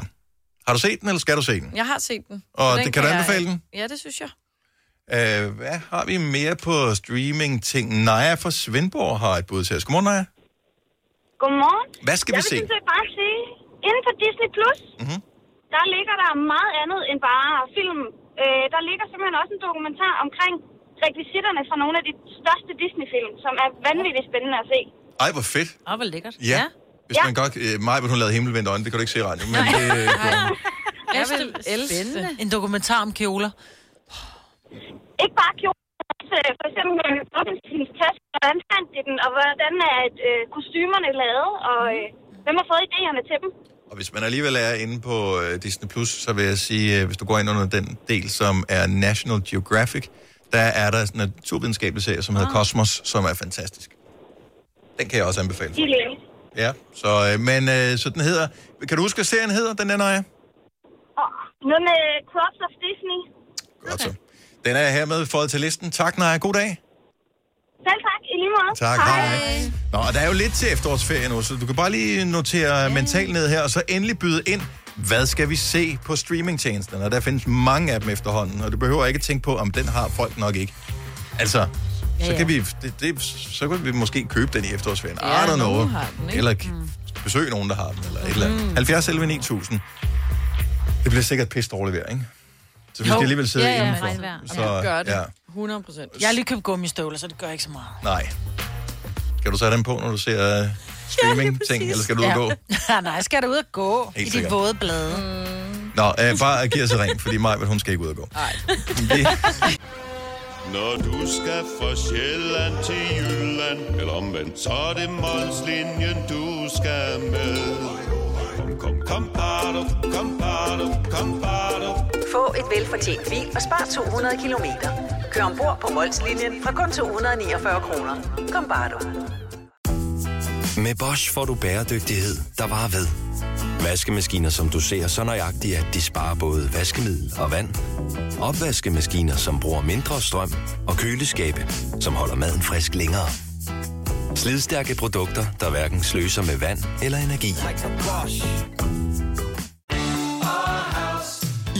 A: Har du set den, eller skal du se den?
D: Jeg har set den.
A: Og
D: så
A: det- kan du anbefale
D: jeg,
A: den?
D: Ja, det synes jeg.
A: Øh, hvad har vi mere på streaming-ting? Naja fra Svendborg har et bud til os. Godmorgen, Naja.
N: Godmorgen.
A: Hvad skal vi
N: jeg
A: se?
N: Jeg vil sådan set bare sige, inden for Disney+, Plus,
A: Mhm.
N: der ligger der meget andet end bare film. Øh, der ligger simpelthen også en dokumentar omkring rekvisitterne fra nogle af de største Disney-film, som er vanvittigt spændende at se.
A: Ej, hvor fedt.
B: Åh, hvor lækkert.
A: Ja. ja. Hvis man godt... Øh, Maja, hun lavede himmelvendt øjne, det kan du ikke se i radioen. Men det, øh,
C: Jeg vil elske En dokumentar om kjoler.
N: Ikke bare kjolen, men også, øh, for eksempel med Robinsons taske, hvordan fandt de den, og hvordan er øh, kostymerne lavet, og øh, hvem har fået idéerne til dem?
A: Og hvis man alligevel er inde på øh, Disney+, Plus, så vil jeg sige, øh, hvis du går ind under den del, som er National Geographic, der er der sådan en naturvidenskabelig serie, som hedder Cosmos, som er fantastisk. Den kan jeg også anbefale.
N: De lærer.
A: Ja, så, øh, men øh, så den hedder... Kan du huske, hvad serien hedder, den ender jeg?
N: Og noget med Crops of Disney.
A: Godt så. Den er hermed fået til listen. Tak, Naja. God dag.
N: Selv tak, i lige måde.
A: Tak, hej. Nå, og der er jo lidt til efterårsferie nu, så du kan bare lige notere yeah. mentalt ned her, og så endelig byde ind, hvad skal vi se på streamingtjenesterne? Og der findes mange af dem efterhånden, og du behøver ikke tænke på, om den har folk nok ikke. Altså,
F: Ja,
A: så,
F: ja.
A: kan vi, det, det, så kan vi måske købe den i efterårsferien.
F: Ja,
A: I don't know.
F: nogen har den, ikke?
A: Eller mm. besøg nogen, der har den, eller et eller andet. 70 11 9000. Det bliver sikkert pisse dårligt vejr, ikke? Så vi skal alligevel sidde
C: ja, ja,
A: indenfor.
C: regnvejr.
A: Så,
C: Jamen, gør det.
A: Ja.
C: 100 procent. Jeg har lige købt gummistøvler, så det gør ikke så meget.
A: Nej. Skal du så have dem på, når du ser uh, streaming-ting, ja, eller skal du ud og gå?
C: Ja. Nej, jeg skal da ud og gå
A: Helt
C: i de
A: sikkert.
C: våde blade. Mm.
A: Nå, øh, bare giv os et ring, fordi Maj, hun skal ikke ud og gå.
P: Når du skal fra Sjælland til Jylland Eller omvendt, så er det Molslinjen, du skal med Kom, kom, kom, bado, kom, bado, kom, bado.
Q: Få et velfortjent bil og spar 200 kilometer. Kør ombord på Molslinjen fra kun 249 kroner. Kom bare du.
R: Med Bosch får du bæredygtighed, der varer ved. Vaskemaskiner, som du ser så nøjagtigt, at de sparer både vaskemiddel og vand. Opvaskemaskiner, som bruger mindre strøm. Og køleskabe, som holder maden frisk længere. Slidstærke produkter, der hverken sløser med vand eller energi.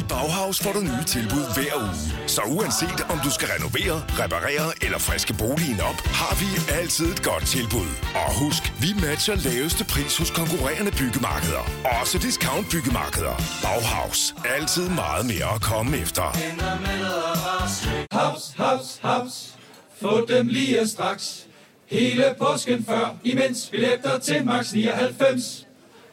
S: I Bauhaus får du nye tilbud hver uge. Så uanset om du skal renovere, reparere eller friske boligen op, har vi altid et godt tilbud. Og husk, vi matcher laveste pris hos konkurrerende byggemarkeder. Også discount byggemarkeder. Bauhaus. Altid meget mere at komme efter.
T: Haps, haps, haps. Få dem lige straks. Hele påsken før, imens billetter til max 99.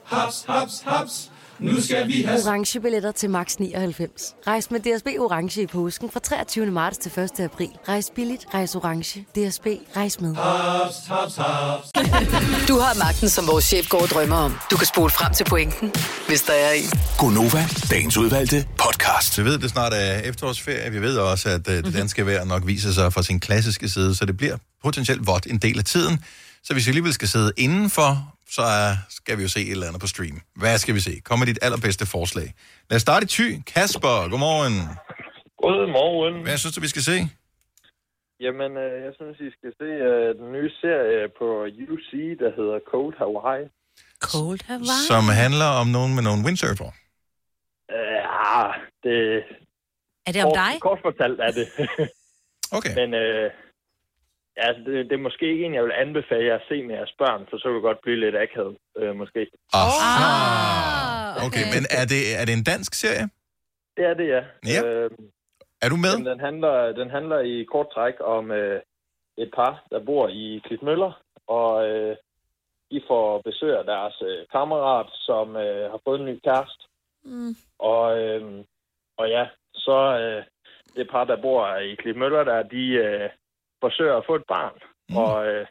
T: Haps, haps, haps. Nu skal vi have
U: orange billetter til max 99. Rejs med DSB orange i påsken fra 23. marts til 1. april. Rejs billigt, rejs orange. DSB rejs med.
T: haps, haps, haps.
M: Du har magten, som vores chef går og drømmer om. Du kan spole frem til pointen, hvis der er en.
A: Gonova, dagens udvalgte podcast. Vi ved, det snart er efterårsferie. Vi ved også, at øh, det danske vejr nok viser sig fra sin klassiske side, så det bliver potentielt vådt en del af tiden. Så hvis vi alligevel skal sidde indenfor, så øh, skal vi jo se et eller andet på stream. Hvad skal vi se? Kom med dit allerbedste forslag. Lad os starte i Thy. Kasper, godmorgen.
G: Godmorgen.
A: Hvad synes du, vi skal se?
G: Jamen, øh, jeg synes, I skal se øh, den nye serie på UC, der hedder Cold Hawaii.
B: Cold Hawaii.
A: Som handler om nogen med nogle windsurfer.
G: Øh, ah, det...
B: Er det om
G: kort,
B: dig?
G: Kort fortalt er det.
A: okay.
G: Men øh, ja, altså, det, det er måske ikke en, jeg vil anbefale jer at se med jeres børn, for så vil det godt blive lidt akavet, øh, måske.
A: Okay, okay men er det, er det en dansk serie?
G: Det er det, ja.
A: Ja.
G: Øh,
A: er du med?
G: Jamen, den, handler, den handler i kort træk om øh, et par, der bor i Klitmøller, og øh, de får besøg af deres øh, kammerat, som øh, har fået en ny kæreste.
B: Mm.
G: Og, øh, og ja, så øh, det par, der bor i Klitmøller, der, de øh, forsøger at få et barn. Mm. Og øh,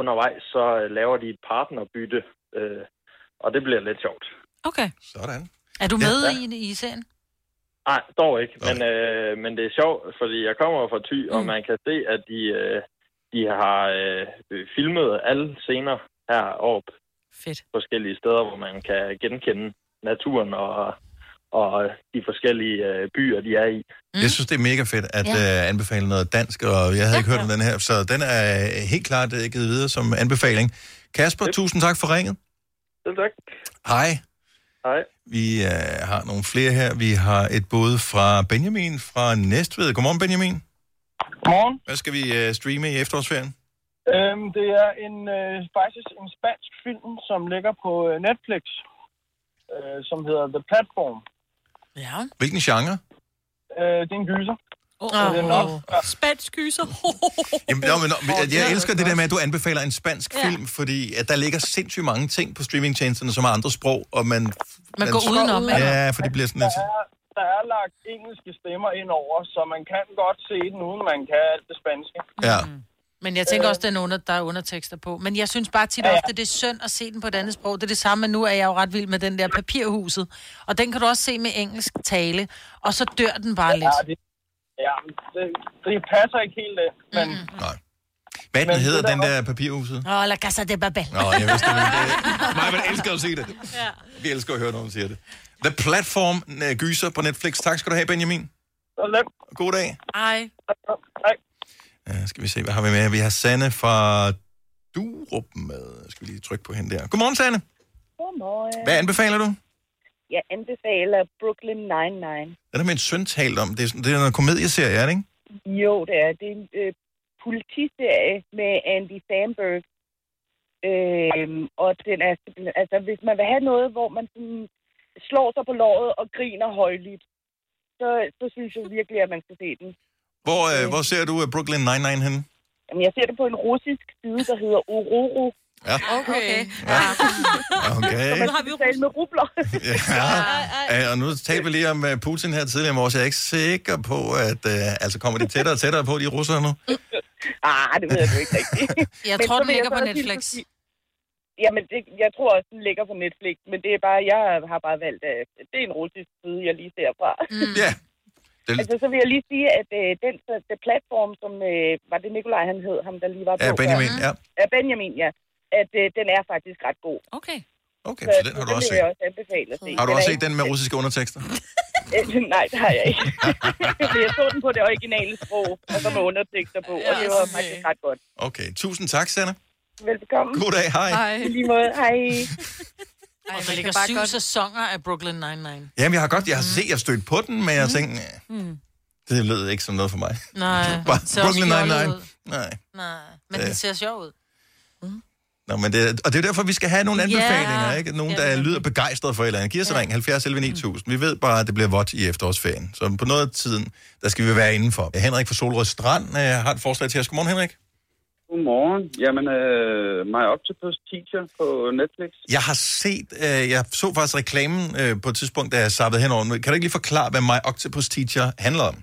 G: undervejs så øh, laver de et partnerbytte, øh, og det bliver lidt sjovt.
C: Okay.
A: Sådan.
C: Er du med
G: Ja.
C: ja. i, i serien?
G: Nej, dog ikke. Men, øh, men det er sjovt, fordi jeg kommer fra Thy, mm. og man kan se, at de, øh, de har øh, filmet alle scener heroppe.
C: Fedt.
G: Forskellige steder, hvor man kan genkende naturen og, og de forskellige øh, byer, de er i.
A: Mm. Jeg synes, det er mega fedt at
G: Ja.
A: ja. uh, anbefale noget dansk, og jeg havde ja, ikke hørt om den her, så den er helt klart uh, givet videre som anbefaling. Kasper, yep. tusind tak for ringet.
G: Selv tak.
A: Hej.
G: Hej.
A: Vi uh, har nogle flere her. Vi har et bud fra Benjamin fra Næstved. Godmorgen, Benjamin.
G: Godmorgen.
A: Hvad skal vi uh, streame i øh, efterårsferien?
F: Øhm, det er en, øh, faktisk en spansk film, som ligger på øh, Netflix, øh, som hedder The Platform.
C: Ja.
A: Hvilken genre?
F: Øh, det er en gyser.
C: Oh,
F: oh, det er nok.
B: Spansk gyser.
A: Jamen, nå, men, nå, men jeg, jeg elsker det der med, at du anbefaler en spansk
B: Ja.
A: film, fordi at der ligger sindssygt mange ting på streamingtjenesterne, som har andre sprog, og man... Man,
F: går udenom, ikke?
A: Ja, for det bliver sådan lidt...
F: Der er, der er lagt engelske stemmer ind over, så man kan godt se den, uden man kan alt det spanske.
A: Ja.
C: Men jeg tænker også, den under, der er undertekster på. Men jeg synes bare tit og ofte, det er synd at se den på et andet sprog. Det er det samme, men nu er jeg jo ret vild med den der papirhuset. Og den kan du også se med engelsk tale. Og så dør den bare lidt.
F: Ja, det, ja, det, det passer ikke helt det, men...
A: Nej. Hvad den hedder, den der papirhuset?
C: Åh, oh, la casa de babel.
A: Nå, jeg vidste det. det. Mig, man elsker at se det. Vi elsker at høre, når hun siger det. The Platform øh, gyser på Netflix. Tak skal du have, Benjamin. God dag.
C: Ej.
F: Hej.
A: Ja, Øh, skal vi se, hvad har vi med? Vi har Sanne fra Durup med. Skal vi lige trykke på hende der. Godmorgen, Sanne.
H: Godmorgen.
A: Hvad anbefaler du?
H: Jeg anbefaler Brooklyn Nine-Nine.
A: Den har min søn talt om. Det er, sådan, det er noget komedieserie, er det ikke?
H: Jo, det er. Det er en øh, politiserie med Andy Samberg. Øhm, og den er simpelthen- altså, hvis man vil have noget, hvor man sådan slår sig på låret og griner højlydt, så, så synes jeg virkelig, at man skal se den.
A: Hvor, øh, hvor ser du øh, Brooklyn Nine-Nine henne?
H: Jamen, jeg ser det på en russisk side, der hedder Ororo.
A: Ja.
H: Okay.
A: Okay.
H: Så har vi talt med rubler.
A: Ja. Øh, Og nu talte vi lige om øh, Putin her tidligere i morges. Jeg er ikke sikker på, at... Øh, altså, kommer de tættere og tættere på, de russere nu?
H: Mm. Ah, det ved jeg jo ikke rigtigt.
C: Jeg
H: Men
C: tror,
H: så
C: den
H: vil jeg
C: ligger
H: så
C: på
H: også
C: Netflix.
H: hilse og sige- Jamen, det, jeg tror også, den ligger på Netflix, men det er bare, jeg har bare valgt, at det er en russisk side, jeg lige ser fra.
A: Mm. Ja. Det...
H: Altså, så vil jeg lige sige, at øh, den så- det platform, som, øh, var det Nikolaj, han hed, ham der lige var på?
A: Ja, Benjamin,
H: før?
A: ja.
H: Ja, Benjamin, ja. At øh, den er faktisk ret god.
B: Okay.
A: Okay, så den har du også
H: set.
A: set.
H: jeg også anbefale at se.
A: Har du
H: Den
A: også
H: er
A: set den med russiske undertekster?
H: ikke- Øh, Nej, det har jeg ikke. Men jeg så den på det originale sprog, og så med undertekster på, og det var faktisk ret godt.
A: Okay, tusind tak, Sanne.
H: Velbekomme.
A: God dag, hej. Hej.
H: I lige måde, hej.
C: Ej, og der
H: man
C: ligger
H: kan bare
C: syv
H: godt-
C: sæsoner af Brooklyn Nine-Nine.
A: Jamen, jeg har godt, jeg har set, jeg har stødt på den, men jeg mm. tænkte, "Næh,
C: Mm.
A: det lød ikke som noget for mig.
C: Nej.
A: Bare
C: den ser også
A: Brooklyn
C: fjollet
A: Nine-Nine.
C: ud.
A: Nej.
C: Nej, men
A: Ja.
C: den ser sjov ud.
A: Nå, men det, og det er jo derfor, vi skal have nogle
C: Ja.
A: anbefalinger, ikke? Nogen, der lyder begejstret for et eller andet. Giv os ja. ring, 70 11 9000. Vi ved bare, at det bliver vådt i efterårsferien. Så på noget af tiden, der skal vi være indenfor. Henrik fra Solrød Strand øh, har et forslag til os. Godmorgen, Henrik.
W: Godmorgen. Jamen, øh, My Octopus Teacher på Netflix.
A: Jeg har set, øh, jeg så faktisk reklamen øh, på et tidspunkt, da jeg sappede henover. Kan du ikke lige forklare, hvad My Octopus Teacher handler om?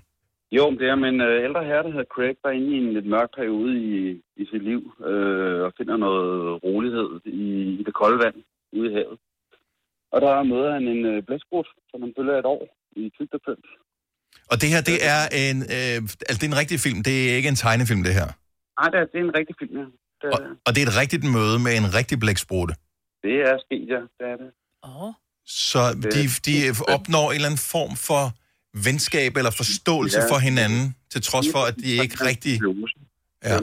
W: Jo, men det er med en øh, ældre herre, der hedder Craig, der er inde i en lidt mørk periode i, i sit liv øh, og finder noget rolighed i, i det kolde vand ude i havet. Og der møder han en øh, blæskrut, som han følger et år i tygterpønt.
A: Og det her, det er en, øh, altså, det er en rigtig film. Det er ikke en tegnefilm, det her.
W: Nej, det er, det er en rigtig film, ja. Det,
A: Og, og det er et rigtigt møde med en rigtig blæksprutte.
W: det er sket, ja. Det er det.
A: Så de, de opnår en eller anden form for venskab eller forståelse
W: Ja.
A: for hinanden, til trods for, at de ikke rigtig... Ja.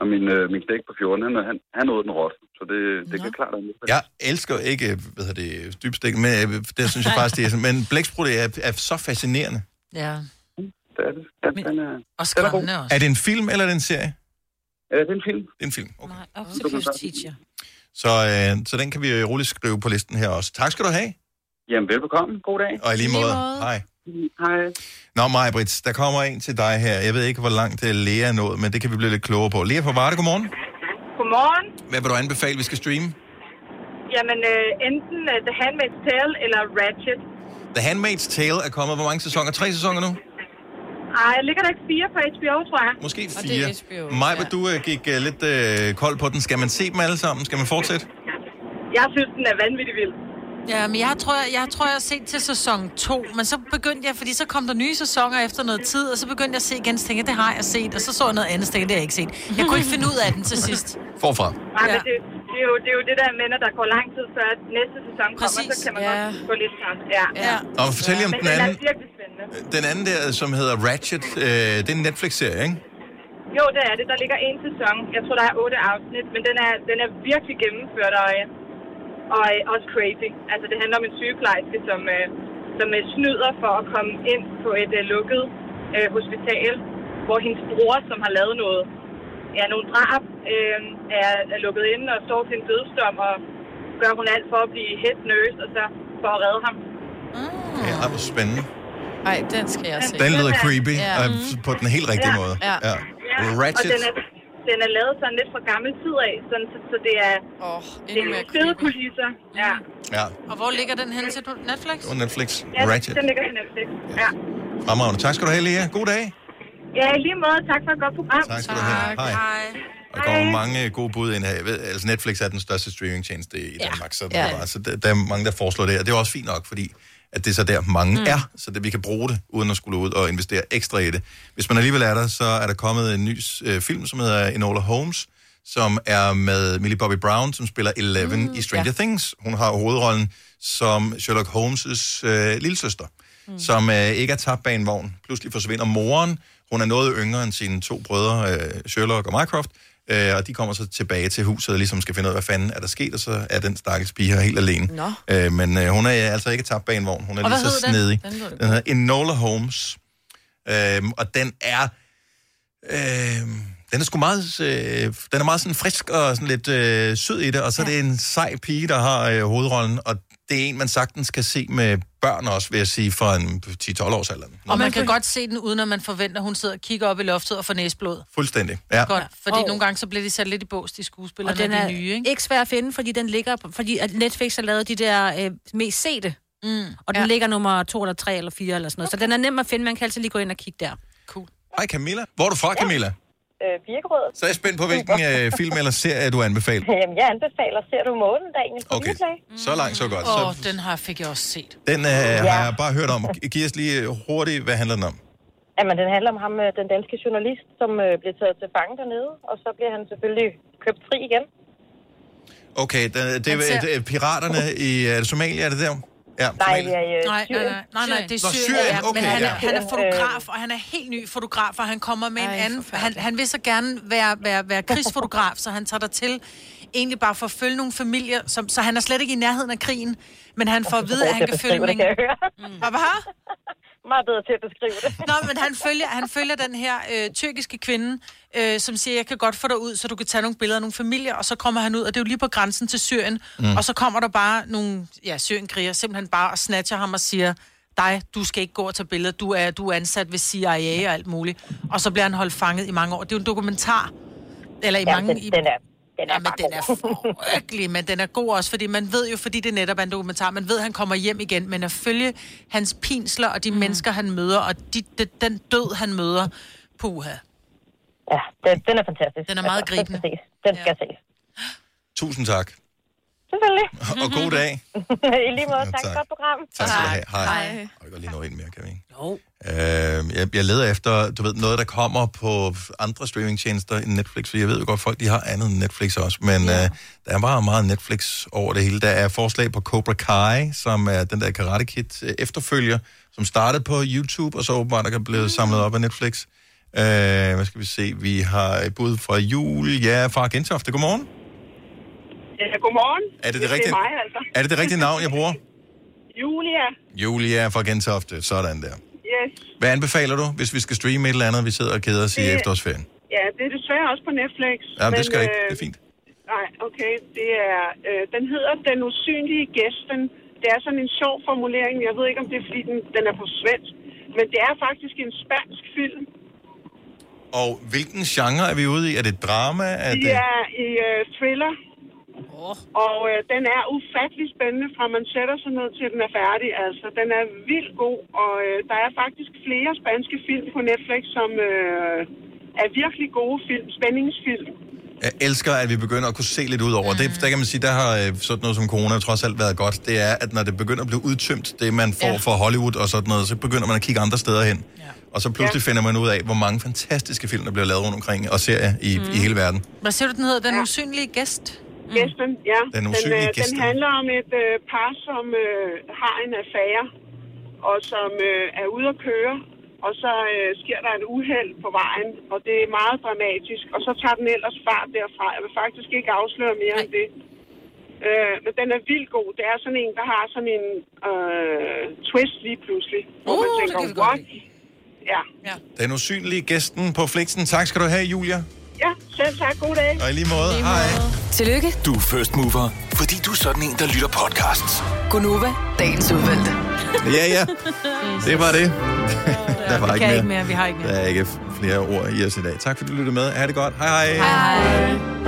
W: Og min, øh, min slægt på 14, han, han, han åd den råt, så det, det kan klart anbefales.
A: Jeg elsker ikke, hvad hedder det, dybstik, men øh, det synes jeg faktisk, det er sådan. Men blæksprutte er, er så fascinerende.
C: Ja.
W: Det er det. Den, den er,
C: og skræmmende også.
A: Er det en film, eller er det en serie?
W: Ja, det er en film.
A: Det er en film. Okay.
C: Nej, Octopus Teacher.
A: Så, øh, så den kan vi øh, roligt skrive på listen her også. Tak skal du have.
W: Jamen, velbekomme. God dag.
A: Og i lige måde.
W: måde.
A: Hej.
W: Hej.
A: Nå, Maja Brits, der kommer en til dig her. Jeg ved ikke, hvor langt øh, Lea er nået, men det kan vi blive lidt klogere på. Lea fra Varde, godmorgen.
N: Godmorgen.
A: Hvad vil du anbefale, vi skal streame?
N: Jamen, øh, enten uh, The Handmaid's Tale eller Ratchet.
A: The Handmaid's Tale er kommet. Hvor mange sæsoner? Tre sæsoner nu?
N: Ej, ligger der ikke fire på HBO, tror jeg?
A: Måske Fire. Maja, ja. du øh, gik øh, lidt øh, kold på den. Skal man se dem alle sammen? Skal man fortsætte?
N: Jeg synes, den er vanvittig vild.
C: Ja, men jeg tror, jeg, jeg tror, jeg har set til sæson 2, men så begyndte jeg, fordi så kom der nye sæsoner efter noget tid, og så begyndte jeg at se igen, så tænkte jeg, det har jeg set, og så så jeg noget andet, så tænkte jeg, det har jeg ikke set. Jeg kunne ikke finde ud af den til sidst.
A: Forfra.
N: Ej, ja. men det, det, er jo, det er jo det der med, når der går lang tid, før næste sæson kommer, så kan man ja. godt gå lidt sammen. Ja. ja.
A: Og fortæl lige om
N: Men
A: den
N: den er
A: anden.
N: virkelig spændende.
A: Den anden der, som hedder Ratchet, øh, det er en Netflix-serie, ikke?
N: Jo, det er det. Der ligger en sæson. Jeg tror, der er otte afsnit, men den er, den er virkelig gennemført og, øh, og øh, også crazy. Altså, det handler om en sygeplejerske, som, øh, som øh, snyder for at komme ind på et øh, lukket øh, hospital, hvor hendes bror, som har lavet noget, ja, nogle drab, øh, er, er lukket inde og står til en dødsdom, og gør hun alt for at blive head nurse, og så for at redde ham.
A: Ja, ej, hvor spændende.
D: Nej, den skal jeg se.
A: Den lyder creepy,
D: Ja.
A: og på den helt rigtige
N: Ja.
A: måde.
N: Ja. Og
A: Ratchet.
N: den er, den er lavet sådan lidt fra gammel tid af, sådan, så, så det er,
D: oh,
N: det er nogle fede kulisser. Ja.
A: Ja,
C: Og hvor ligger den henne til du- Netflix?
A: det var Netflix.
N: Ja, den-
A: Ratchet.
N: den ligger på Netflix. Ja.
A: Fremragende. Tak skal du have, Lea. God dag.
N: ja, i lige måde. Tak for et godt program.
A: Tak skal du have. Tak. Hej. Der kommer mange øh, gode bud ind her. Jeg ved, altså Netflix er den største streamingtjeneste i Danmark, så,
N: Ja.
A: ja. bare, så der, der er mange, der foreslår det, og det er også fint nok, fordi at det er så der, mange
I: Mm.
A: mm. er, så det, vi kan bruge det, uden at skulle ud og investere ekstra i det. Hvis man alligevel er der, så er der kommet en ny øh, film, som hedder Enola Holmes, som er med Millie Bobby Brown, som spiller Eleven mm, i Stranger ja. Things. Hun har hovedrollen som Sherlock Holmes' øh, lillesøster, mm. som øh, ikke er tabt bag en vogn. Pludselig forsvinder moren. Hun er noget yngre end sine to brødre, øh, Sherlock og Mycroft, øh, og de kommer så tilbage til huset og ligesom skal finde ud af, hvad fanden er der sket, og så er den stakkels pige her helt alene.
D: Nå.
A: Øh, men øh, hun er øh, altså ikke tabt bag en vogn. Hun er
D: Og
A: lige
D: hvad
A: så
D: hed den?
A: snedig.
D: Den lyder
A: Den hedder Enola Holmes. Øhm, og den er... Øhm, den er sgu meget, øh, den er meget sådan frisk og sådan lidt øh, sød i det, og så ja. er det en sej pige, der har øh, hovedrollen, og det er en, man sagtens kan se med børn også, vil jeg sige, fra en 10-12 års alder.
C: Og man kan godt se den, uden at man forventer, at hun sidder og kigger op i loftet og får næsblod.
A: Fuldstændig, ja.
C: Godt, fordi
B: Og-
C: nogle gange så bliver de sat lidt i bås, de skuespillere,
B: Og den
C: er
B: er
C: de nye, ikke?
B: ikke svær at finde, fordi den ligger, på- fordi at Netflix har lavet de der øh, mest sete.
C: Mm.
B: Og den ja. ligger nummer to eller tre eller fire eller sådan noget. Okay. Så den er nem at finde. Man kan altid lige gå ind og kigge der.
A: Hej Camilla. Hvor er du fra, Camilla?
J: øh, Birkerød.
A: Så er jeg spændt på, hvilken øh, film eller serie, du anbefaler.
J: Jamen, jeg anbefaler, ser du månen, Daniel, på
A: Okay.
J: Viaplay?
A: Så langt, så godt.
C: Åh,
A: Så,
C: oh, den har fik jeg også set.
A: den øh, har
J: Ja.
A: jeg bare hørt om. Gi- Giv os lige øh, hurtigt, hvad handler den om?
J: Jamen, den handler om ham, øh, den danske journalist, som øh, bliver taget til fange dernede, og så bliver han selvfølgelig købt fri igen.
A: Okay, den, øh, det,
J: Den
A: er
J: ser-
A: det, piraterne i øh, er det Somalia, er det der? Ja,
J: Nej,
A: Somalia.
J: det er øh,
C: Nej, nej,
J: Syrien. Øh,
C: nej, nej, nej, det er
A: Nå,
C: Syrien.
A: Syrien,
C: ja,
A: okay,
C: men han, er,
A: ja.
C: han er fotograf, og han er helt ny fotograf, og han kommer med en anden... Han, han vil så gerne være, være, være krigsfotograf, så han tager der til egentlig bare for at følge nogle familier, som, så han er slet ikke i nærheden af krigen, men han får at vide, at han kan følge...
J: Det, kan jeg høre.
C: Hvad var
J: Meget bedre til at beskrive det.
C: Nå, men han følger, han følger den her øh, tyrkiske kvinde, øh, som siger, jeg kan godt få dig ud, så du kan tage nogle billeder af nogle familier, og så kommer han ud, og det er jo lige på grænsen til Syrien, mm.
J: Mm.
C: og så kommer der bare nogle, ja, syrienkriger simpelthen bare og snatcher ham og siger, dig, du skal ikke gå og tage billeder, du er, du er ansat ved CIA og alt muligt. Og så bliver han holdt fanget i mange år. Det er jo en dokumentar. Eller i
J: Jamen,
C: mange...
J: den-
C: i,
J: den er- den er
C: ja, men
J: bare
C: den er frygtelig, men den er god også, fordi man ved jo, fordi det netop er en dokumentar, man ved, at han kommer hjem igen, men at følge hans pinsler og de mm. mennesker, han møder, og de, de, den død, han møder, puha.
J: Ja, den, den er fantastisk.
C: Den er meget gribende.
J: Den skal ses. Den skal ses.
A: Tusind tak,
J: Selvfølgelig.
A: og god dag.
J: I lige måde, tak,
A: tak.
J: for et godt program.
A: Tak skal du have. Hej. Hej. Og vi går lige nå en mere, kan vi ikke? Øh, jeg, jeg leder efter, du ved, noget, der kommer på andre streamingtjenester end Netflix, for jeg ved jo godt, folk de har andet end Netflix også, men ja. øh, der er bare meget Netflix over det hele. Der er forslag på Cobra Kai, som er den der Karate Kid øh, efterfølger, som startede på YouTube, og så åbenbart er blevet samlet op af Netflix. Øh, hvad skal vi se? Vi har et bud fra Jul. Ja, fra Gentofte. Godmorgen.
K: Ja, godmorgen.
A: Er det det
K: Hvis
A: rigtige?
K: Det er mig, altså.
A: Er det det rigtige navn, jeg bruger?
K: Julia.
A: Julia fra Gentofte. Sådan der.
K: Yes.
A: Hvad anbefaler du, hvis vi skal streame et eller andet, vi sidder og keder os i
K: Det-
A: efterårsferien?
K: Ja, det er desværre også på Netflix. øh,
A: Jamen, det skal jeg ikke. Det er fint.
K: Nej, okay. Det er, øh, den hedder Den usynlige gæsten. Det er sådan en sjov formulering. Jeg ved ikke, om det er, fordi den, den er på svensk. Men det er faktisk en spansk film.
A: Og hvilken genre er vi ude i? Er det drama? Er
K: De
A: det...
K: er i øh, thriller. Oh. Og øh, den er ufattelig spændende, fra man sætter sig ned til, den er færdig. Altså, den er vildt god, og øh, der er faktisk flere spanske film på Netflix, som øh, er virkelig gode film, spændingsfilm.
A: Jeg elsker, at vi begynder at kunne se lidt ud over. Mm. Det, der kan man sige, der har øh, sådan noget som corona trods alt været godt. Det er, at når det begynder at blive udtømt, det man får ja. fra Hollywood og sådan noget, så begynder man at kigge andre steder hen. Ja. Og så pludselig ja. finder man ud af, hvor mange fantastiske film, der bliver lavet rundt omkring og serier i, mm. i hele verden.
C: Hvad siger du, den hedder? Den ja. usynlige gæst?
K: Mm. Gæsten, ja.
A: Den usynlige
K: den,
A: gæsten.
K: den handler om et øh, par, som øh, har en affære, og som øh, er ude at køre. Og så øh, sker der et uheld på vejen, og det er meget dramatisk. Og så tager den ellers fart derfra. Jeg vil faktisk ikke afsløre mere end det. Øh, men den er vildt god. Det er sådan en, der har sådan en øh, twist lige pludselig. Hvor man tænker, what? Ja.
A: Den usynlige gæsten på Flixen. Tak skal du have, Julia.
K: ja, selv Selv tak. God dag.
A: Og i lige måde, hej.
M: Tillykke,
E: Du er first mover, fordi du er sådan en, der lytter podcasts.
M: Gunova, dagens udvalgte.
A: Ja, ja. Det var det. Der var
C: vi
A: ikke
C: kan
A: mere.
C: ikke mere, vi har ikke mere.
A: Der er ikke flere ord i os i dag. Tak fordi du lyttede med. Ha' det godt. Hej hej.
C: Hej.